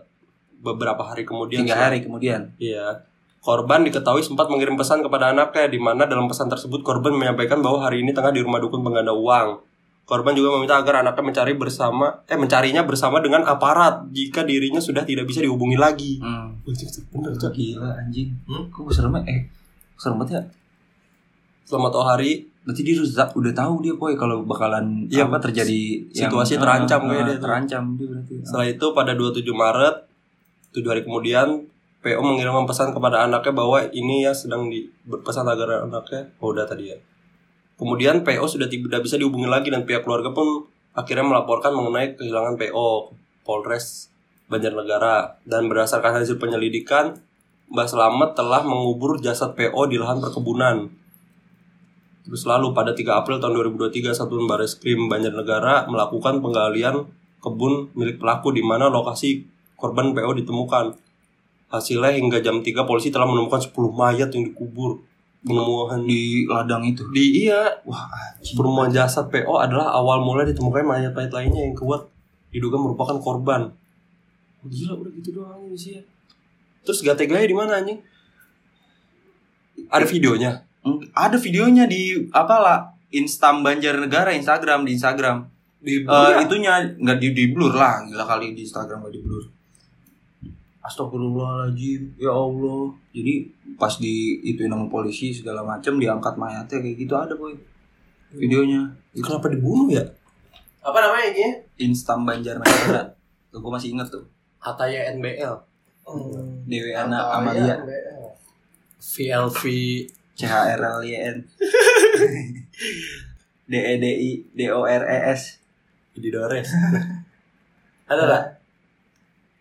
[SPEAKER 1] beberapa hari kemudian
[SPEAKER 2] Tiga hari kemudian.
[SPEAKER 1] Iya. Korban diketahui sempat mengirim pesan kepada anaknya di mana dalam pesan tersebut korban menyampaikan bahwa hari ini tengah di rumah dukun pengganda uang. Korban juga meminta agar anaknya mencari bersama eh mencarinya bersama dengan aparat jika dirinya sudah tidak bisa dihubungi lagi.
[SPEAKER 2] Hmm.
[SPEAKER 1] Bener, Cok.
[SPEAKER 2] Gila anjing. Hmm? Kok serem banget? eh serem banget ya?
[SPEAKER 1] Selamat Tohari
[SPEAKER 2] Berarti dia udah, ta- udah tahu dia boy kalau bakalan
[SPEAKER 1] Iya,
[SPEAKER 2] apa terjadi
[SPEAKER 1] situasi terancam
[SPEAKER 2] Ah,
[SPEAKER 1] kayaknya
[SPEAKER 2] ah,
[SPEAKER 1] dia tuh.
[SPEAKER 2] terancam dia berarti. Ah.
[SPEAKER 1] Setelah itu pada 27 Maret, 7 hari kemudian, PO mengirimkan pesan kepada anaknya bahwa ini ya sedang di berpesan agar anaknya, oh udah tadi ya. Kemudian PO sudah tidak bisa dihubungi lagi dan pihak keluarga pun akhirnya melaporkan mengenai kehilangan PO Polres Banjarnegara dan berdasarkan hasil penyelidikan Mbah Selamat telah mengubur jasad PO di lahan perkebunan. Terus lalu pada 3 April tahun 2023 Satuan Baris Krim Banjarnegara melakukan penggalian kebun milik pelaku di mana lokasi korban PO ditemukan. Hasilnya hingga jam 3 polisi telah menemukan 10 mayat yang dikubur. Penemuan di,
[SPEAKER 2] di ladang itu.
[SPEAKER 1] iya,
[SPEAKER 2] Wah, anjing.
[SPEAKER 1] penemuan jasad PO adalah awal mula ditemukan mayat-mayat lainnya yang kuat diduga merupakan korban. Gila udah gitu doang sih ya. Terus gak teganya di mana anjing? Ada videonya.
[SPEAKER 2] Hmm, Ada videonya di apa lah Instam Banjarnegara Instagram di Instagram.
[SPEAKER 1] Di ya?
[SPEAKER 2] Eh, itunya nggak di, di blur lah gila kali di Instagram nggak di blur Astagfirullahaladzim ya Allah jadi pas di itu nama polisi segala macam diangkat mayatnya kayak gitu ada boy Hmm. videonya
[SPEAKER 1] kenapa dibunuh ya?
[SPEAKER 4] Apa namanya ini?
[SPEAKER 2] Instam Banjarnegara tuh gue masih inget tuh
[SPEAKER 1] Hataya NBL,
[SPEAKER 4] Hmm.
[SPEAKER 2] Dewi Ana
[SPEAKER 4] iya.
[SPEAKER 2] Amalia
[SPEAKER 1] VLV,
[SPEAKER 2] CHRLYN DEDI DORES
[SPEAKER 1] Didores. Ada lah. Nah.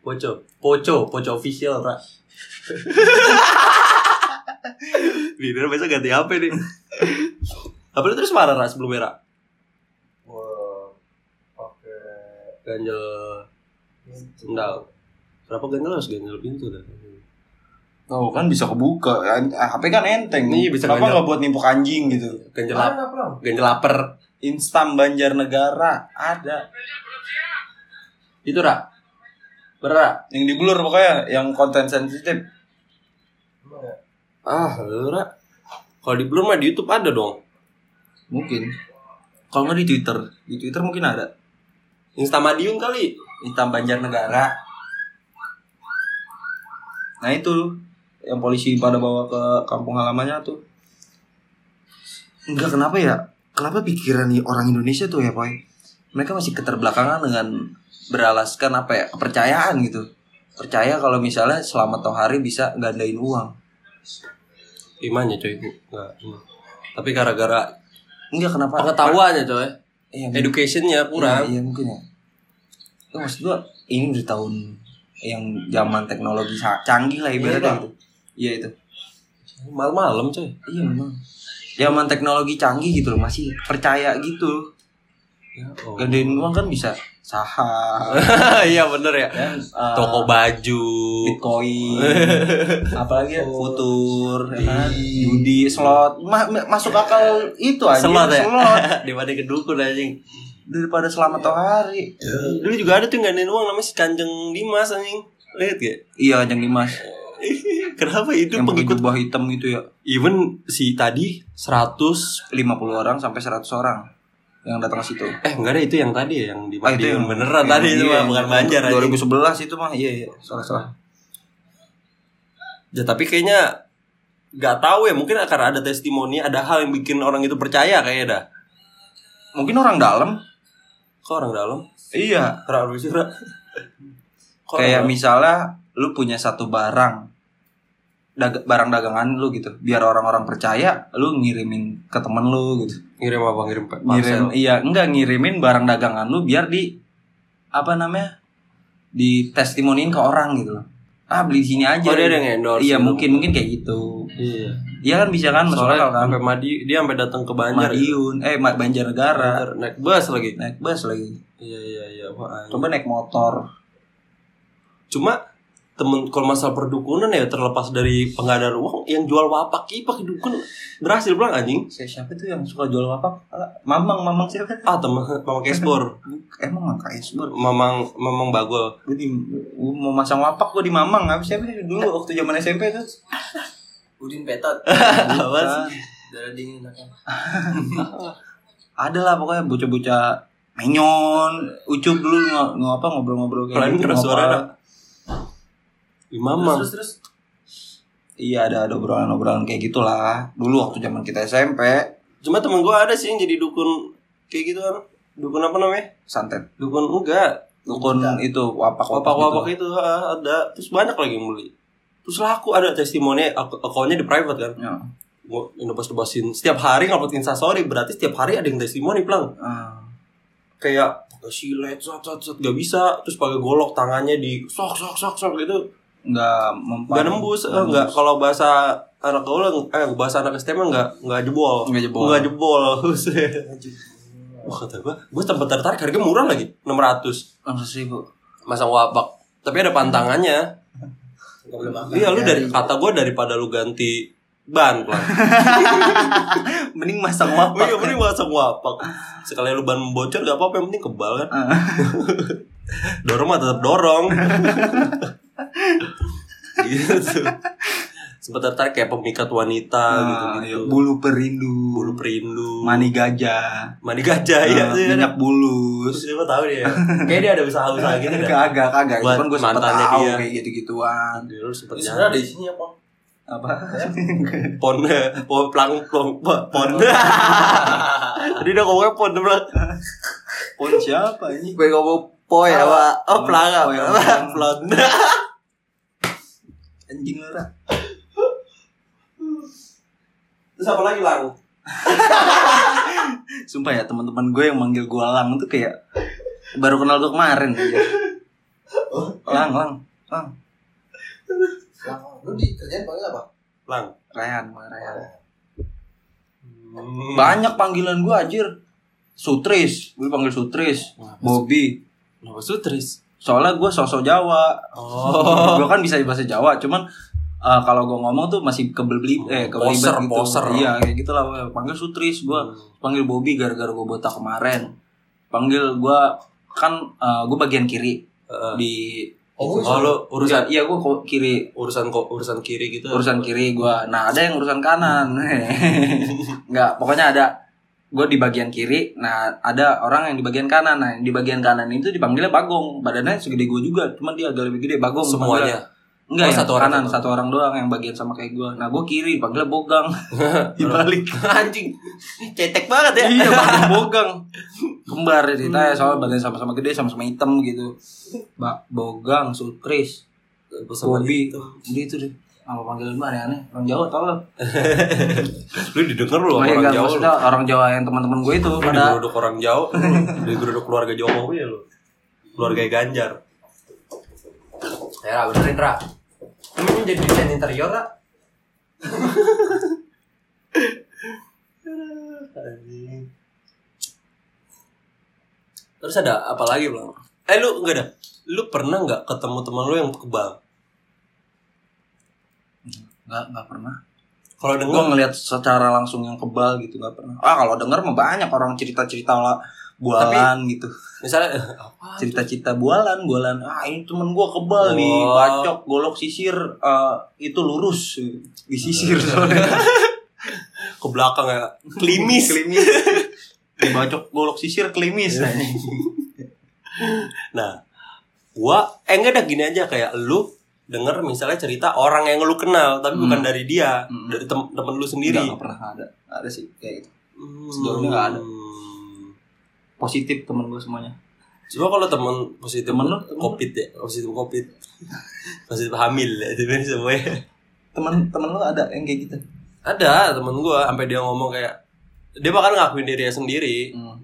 [SPEAKER 1] Poco, Poco, Poco official, Ra. Dinner besok ganti HP nih. Tapi lu terus marah Ra sebelum merah.
[SPEAKER 3] Oke.
[SPEAKER 1] Ganjel sendal. Kenapa ganjel harus ganjel pintu dah?
[SPEAKER 2] Oh kan bisa kebuka An- HP kan enteng
[SPEAKER 1] Iya, bisa
[SPEAKER 2] Kenapa
[SPEAKER 1] banyak.
[SPEAKER 2] nggak buat nimpuk anjing gitu
[SPEAKER 1] Ganjel lap,
[SPEAKER 3] Mana Pram?
[SPEAKER 1] ganjel lapar.
[SPEAKER 2] Instam Banjarnegara ada
[SPEAKER 1] Itu Ra. Berat.
[SPEAKER 2] yang di blur pokoknya yang konten sensitif
[SPEAKER 3] Emang ya?
[SPEAKER 1] Ah, lu Ra. Kalau di Blur mah di YouTube ada dong.
[SPEAKER 2] mungkin kalau nggak di Twitter di Twitter mungkin ada
[SPEAKER 1] Instamadium kali.
[SPEAKER 2] Instam Banjarnegara nah itu yang polisi pada bawa ke kampung halamannya tuh Enggak kenapa ya kenapa pikiran i- orang Indonesia tuh ya Boy mereka masih keterbelakangan dengan beralaskan apa ya kepercayaan gitu percaya kalau misalnya selamat Tohari bisa gandain uang
[SPEAKER 1] Imannya coy. Enggak. hmm. Tapi gara-gara
[SPEAKER 2] Enggak kenapa?
[SPEAKER 1] pengetahuannya coy.
[SPEAKER 2] Iya, mungkin.
[SPEAKER 1] Educationnya kurang.
[SPEAKER 2] Iya, iya, mungkin ya. Ya, maksud gua ini udah tahun yang zaman teknologi sa- canggih lah ibaratnya
[SPEAKER 3] Bang.
[SPEAKER 2] gitu. Iya itu.
[SPEAKER 1] Malam-malam coy.
[SPEAKER 2] Iya memang. Zaman teknologi canggih gitu loh masih percaya gitu.
[SPEAKER 1] Ya, oh.
[SPEAKER 2] Gandain uang kan bisa saham,
[SPEAKER 1] Iya bener ya.
[SPEAKER 2] dan, eh,
[SPEAKER 1] Toko baju.
[SPEAKER 2] Bitcoin, apalagi ya, futur, ya kan?
[SPEAKER 1] Iya.
[SPEAKER 2] judi, slot, Ma- ma- masuk akal itu aja
[SPEAKER 1] Slot ya?
[SPEAKER 2] slot.
[SPEAKER 1] Dibanding ke dukun anjing.
[SPEAKER 2] daripada selamat tohari.
[SPEAKER 1] Dulu juga ada tuh yang gandain uang namanya si Kanjeng Dimas anjing. Lihat gak?
[SPEAKER 2] Iya, Kanjeng Dimas.
[SPEAKER 1] Kenapa itu
[SPEAKER 2] yang pakai
[SPEAKER 1] pengikut
[SPEAKER 2] jubah hitam gitu ya.
[SPEAKER 1] even si tadi 100
[SPEAKER 2] 50 orang sampai 100 orang. yang datang ke situ.
[SPEAKER 1] Eh enggak ada itu yang tadi ya yang di
[SPEAKER 2] Ah, itu
[SPEAKER 1] Madiun.
[SPEAKER 2] yang
[SPEAKER 1] beneran
[SPEAKER 2] yang-
[SPEAKER 1] tadi itu
[SPEAKER 2] iya,
[SPEAKER 1] mah bukan Banjar aja.
[SPEAKER 2] 2011 itu mah iya iya salah salah.
[SPEAKER 1] Ya tapi kayaknya nggak tahu ya mungkin akan ada testimoni ada hal yang bikin orang itu percaya kayaknya dah.
[SPEAKER 2] Mungkin orang dalam.
[SPEAKER 1] Kok orang dalam?
[SPEAKER 2] Iya.
[SPEAKER 1] Ra apa sih, Ra? Kok
[SPEAKER 2] Kayak
[SPEAKER 1] orang-
[SPEAKER 2] misalnya lu punya satu barang dag- barang dagangan lu gitu. Biar orang-orang percaya lu ngirimin ke temen lu gitu.
[SPEAKER 1] ngirim apa ngirim pa-
[SPEAKER 2] Ngirim
[SPEAKER 1] parcel.
[SPEAKER 2] iya enggak ngirimin barang dagangan lu biar di apa namanya? di testimoniin ke orang gitu loh. Ah beli di sini aja.
[SPEAKER 1] Oh, dia ada yang endorse.
[SPEAKER 2] Iya
[SPEAKER 1] gitu.
[SPEAKER 2] mungkin mungkin kayak gitu.
[SPEAKER 1] Iya.
[SPEAKER 2] Iya kan bisa kan masuk
[SPEAKER 1] Soalnya
[SPEAKER 2] akal kan.
[SPEAKER 1] sampai Madi dia sampai datang ke Banjar.
[SPEAKER 2] Madiun, eh Ma- Banjarnegara,
[SPEAKER 1] Banjar, naik bus lagi.
[SPEAKER 2] naik bus lagi.
[SPEAKER 1] Iya iya iya. Wah,
[SPEAKER 2] Coba naik motor.
[SPEAKER 1] Cuma temen kalau masalah perdukunan ya terlepas dari pengadaan uang yang jual wapak ki pakai dukun berhasil pulang anjing
[SPEAKER 2] Saya siapa tuh yang suka jual apa? Mamang, mamang siapa?
[SPEAKER 1] ah temen mamang kesbor
[SPEAKER 2] Emang nggak KS bro.
[SPEAKER 1] mamang mamang bagol
[SPEAKER 2] Gue di, gua mau masang wapak gue di mamang habis siapa sih dulu waktu zaman SMP tuh.
[SPEAKER 4] Udin petot.
[SPEAKER 2] Bukan.
[SPEAKER 4] Darah dingin anaknya.
[SPEAKER 2] Ada lah pokoknya bocah-bocah menyon, ucup dulu nggak apa ngobrol-ngobrol kayak gitu,
[SPEAKER 1] Kalian keras
[SPEAKER 2] ngobrol.
[SPEAKER 1] suara, Nak. Ih, mamang
[SPEAKER 4] Terus terus terus.
[SPEAKER 2] Iya ada ada obrolan-obrolan kayak gitulah. Dulu waktu zaman kita SMP,
[SPEAKER 1] cuma temen gue ada sih yang jadi dukun kayak gitu kan dukun apa namanya
[SPEAKER 2] santet.
[SPEAKER 1] dukun enggak
[SPEAKER 2] Dukun itu wapak-wapak.
[SPEAKER 1] wapak-wapak
[SPEAKER 2] gitu.
[SPEAKER 1] itu ah, ada terus banyak lagi yang beli terus laku ada testimoni ak- akunnya di private kan
[SPEAKER 2] Ya.
[SPEAKER 1] gue nebas-nebasin setiap hari ngupload instastory berarti setiap hari ada yang testimoni pelang
[SPEAKER 2] Ah.
[SPEAKER 1] kayak pakai silet sot sot sot gak bisa terus pakai golok tangannya di sok sok sok sok gitu
[SPEAKER 2] nggak mempan
[SPEAKER 1] nggak nembus eh, nggak kalau bahasa anak gaul eh bahasa anak STM nggak nggak jebol
[SPEAKER 2] nggak jebol
[SPEAKER 1] nggak jebol wah kata gue gue tempat tertarik harga murah lagi 600
[SPEAKER 2] langsung sih bu
[SPEAKER 1] masang wapak tapi ada pantangannya
[SPEAKER 4] Enggak boleh makan.
[SPEAKER 1] iya lu dari kata gue daripada lu ganti ban pelan
[SPEAKER 2] mending masang
[SPEAKER 1] oh iya mending masang wapak sekali lu ban bocor gak apa-apa yang penting kebal kan
[SPEAKER 2] Ah.
[SPEAKER 1] dorong mah tetap dorong gitu sempat tertarik kayak pemikat wanita gitu gitu
[SPEAKER 2] Ah, bulu perindu
[SPEAKER 1] bulu perindu
[SPEAKER 2] mani gajah
[SPEAKER 1] mani gajah ya
[SPEAKER 2] eh,
[SPEAKER 1] sih
[SPEAKER 2] minyak bulus
[SPEAKER 1] siapa tahu dia kayak dia ada usaha usaha gitu kan
[SPEAKER 2] kagak kagak itu
[SPEAKER 1] Buat
[SPEAKER 2] kan gue sempet
[SPEAKER 1] mantannya
[SPEAKER 2] tahu
[SPEAKER 1] dia.
[SPEAKER 2] kayak gitu gituan
[SPEAKER 1] Dia dulu sempat
[SPEAKER 4] Ini
[SPEAKER 1] jalan
[SPEAKER 4] sebenarnya ada isinya apa?
[SPEAKER 2] apa
[SPEAKER 1] pon pon pelang pon pon tadi udah ngomongnya pon pelang
[SPEAKER 2] pon siapa ini
[SPEAKER 1] gue ngomong poi apa oh pelang
[SPEAKER 2] Hmm, Poi,
[SPEAKER 1] apa
[SPEAKER 2] pelang.
[SPEAKER 1] Pelon.
[SPEAKER 2] anjing lu Ra.
[SPEAKER 1] terus apa lagi lang
[SPEAKER 2] sumpah ya teman-teman gue yang manggil gue lang tuh kayak baru kenal gue kemarin aja lang lang lang
[SPEAKER 3] Lah, Lu di kerjaan panggil apa?
[SPEAKER 1] lang
[SPEAKER 2] Rehan Mang Rehan banyak panggilan gue anjir sutris gue panggil sutris Bobby
[SPEAKER 1] Kenapa sutris?
[SPEAKER 2] soalnya gue sosok Jawa
[SPEAKER 1] Oh.
[SPEAKER 2] gue kan bisa bahasa Jawa cuman eh, kalau gue ngomong tuh masih kebeli eh kebelibet
[SPEAKER 1] Poser,
[SPEAKER 2] gitu
[SPEAKER 1] poser.
[SPEAKER 2] iya kayak gitulah panggil sutris gue panggil Bobby gara-gara gue botak kemarin panggil gue kan gue bagian kiri
[SPEAKER 1] Heeh.
[SPEAKER 2] di
[SPEAKER 1] Oh, lu
[SPEAKER 2] urusan
[SPEAKER 1] urusan
[SPEAKER 2] iya gue kiri
[SPEAKER 1] urusan kok urusan kiri gitu.
[SPEAKER 2] urusan kiri gue nah ada yang urusan kanan nggak pokoknya ada gue di bagian kiri nah ada orang yang di bagian kanan nah yang di bagian kanan itu dipanggilnya bagong badannya segede gue juga cuman dia agak lebih gede bagong dipanggilnya.
[SPEAKER 1] semuanya.
[SPEAKER 2] enggak
[SPEAKER 1] Oh,
[SPEAKER 2] yang
[SPEAKER 1] satu orang,
[SPEAKER 2] kanan
[SPEAKER 1] satu
[SPEAKER 2] satu orang doang yang bagian sama kayak gue nah gue kiri dipanggilnya bogang dibalik
[SPEAKER 1] Anjing. Cetek banget ya.
[SPEAKER 2] iya bagong bogang kembar ceritanya soalnya badannya sama-sama gede sama-sama hitam gitu ba bogang sutris Bobby
[SPEAKER 1] Bobby.
[SPEAKER 2] dia itu deh apa panggilan lu aneh-aneh orang Jawa tau lah
[SPEAKER 1] Lu didengar lu sama
[SPEAKER 2] Iya,
[SPEAKER 1] orang
[SPEAKER 2] enggak,
[SPEAKER 1] Jawa. Lu
[SPEAKER 2] maksudnya orang Jawa yang teman-teman gue itu
[SPEAKER 1] Lu
[SPEAKER 2] pada
[SPEAKER 1] digeruduk orang Jawa, lu digeruduk keluarga Jokowi ya lu. Keluarga Ganjar. Ya, benerin, Ra. Ini jadi desain interior, Ra. Anjing. Terus ada apa lagi, Bang? Eh, lu enggak ada. Lu pernah nggak ketemu teman lu yang kebal?
[SPEAKER 2] nggak nggak pernah.
[SPEAKER 1] Kalau
[SPEAKER 2] Gue
[SPEAKER 1] dengar
[SPEAKER 2] ngelihat secara langsung yang kebal gitu nggak pernah. Ah kalau denger mah banyak orang cerita-cerita lah bualan gitu.
[SPEAKER 1] misalnya eh, apa?
[SPEAKER 2] Cerita-cerita bualan, bualan. Ah ini temen gue
[SPEAKER 1] Oh.
[SPEAKER 2] kebal nih, bacok, golok, sisir eh, itu lurus disisir soalnya.
[SPEAKER 1] Ke belakang ya. Klimis.
[SPEAKER 2] Klimis. bacok golok sisir klimis anjing.
[SPEAKER 1] Nah, gua eh enggak dah gini aja kayak lu denger misalnya cerita orang yang lu kenal tapi bukan
[SPEAKER 2] Hmm.
[SPEAKER 1] dari dia,
[SPEAKER 2] Hmm.
[SPEAKER 1] dari tem- temen lu sendiri.
[SPEAKER 2] Enggak, enggak pernah ada. Nggak Ada sih kayak gitu.
[SPEAKER 1] Hmm.
[SPEAKER 2] Sejauh ini enggak ada. Positif temen gue semuanya.
[SPEAKER 1] Cuma kalau temen positif
[SPEAKER 2] Temen lu, temen lu.
[SPEAKER 1] covid ya, positif covid. positif hamil ya, itu kan semuanya.
[SPEAKER 2] Temen temen lu ada yang kayak gitu.
[SPEAKER 1] Ada temen gua sampai dia ngomong kayak dia bahkan ngakuin dirinya sendiri.
[SPEAKER 2] Hmm.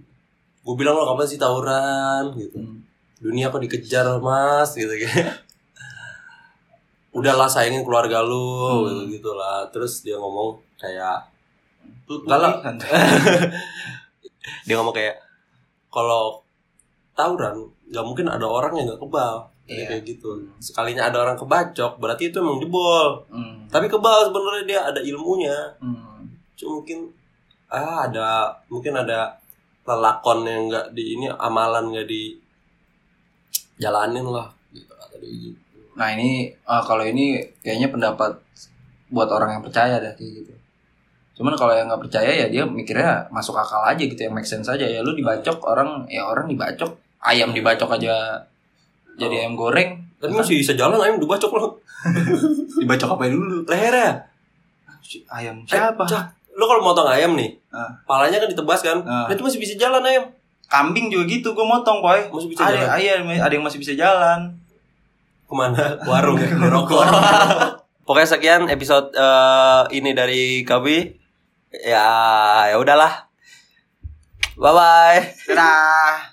[SPEAKER 1] Gue bilang lo kapan sih tawuran gitu.
[SPEAKER 2] Hmm.
[SPEAKER 1] dunia kok dikejar mas gitu kayak udahlah sayangin keluarga lu gitu gitulah terus dia ngomong kayak Enggak lah. dia ngomong kayak kalau tawuran nggak mungkin ada orang yang nggak kebal
[SPEAKER 3] Iya.
[SPEAKER 1] Dia kayak gitu sekalinya ada orang kebacok berarti itu emang jebol
[SPEAKER 2] Hmm.
[SPEAKER 1] tapi kebal sebenarnya dia ada ilmunya
[SPEAKER 2] Hmm.
[SPEAKER 1] cuma mungkin ah ada mungkin ada lelakon yang nggak di ini amalan nggak di jalanin lah gitu kata dia gitu.
[SPEAKER 2] Nah ini eh, kalau ini kayaknya pendapat buat orang yang percaya dah kayak gitu. Cuman kalau yang nggak percaya ya dia mikirnya masuk akal aja gitu yang make sense aja ya lu dibacok orang ya orang dibacok ayam dibacok aja jadi ayam goreng
[SPEAKER 1] Tapi masih bisa jalan ayam udah bacok lo
[SPEAKER 2] dibacok apa dulu
[SPEAKER 1] lehernya.
[SPEAKER 2] Si- ayam
[SPEAKER 1] Eh,
[SPEAKER 2] siapa
[SPEAKER 1] Cak, lo ya? kalau motong ayam nih,
[SPEAKER 2] Ah.
[SPEAKER 1] palanya kan ditebas kan?
[SPEAKER 2] Ah.
[SPEAKER 1] Nah, itu masih bisa jalan ayam.
[SPEAKER 2] kambing juga gitu gue motong boy
[SPEAKER 1] Masih bisa jalan.
[SPEAKER 2] ada ayam ada yang masih bisa jalan
[SPEAKER 1] Kemana? Ke Warung ya, beli rokok. Pokoknya sekian episode eh, ini dari kami. Ya, ya udahlah. Bye bye.
[SPEAKER 2] dadah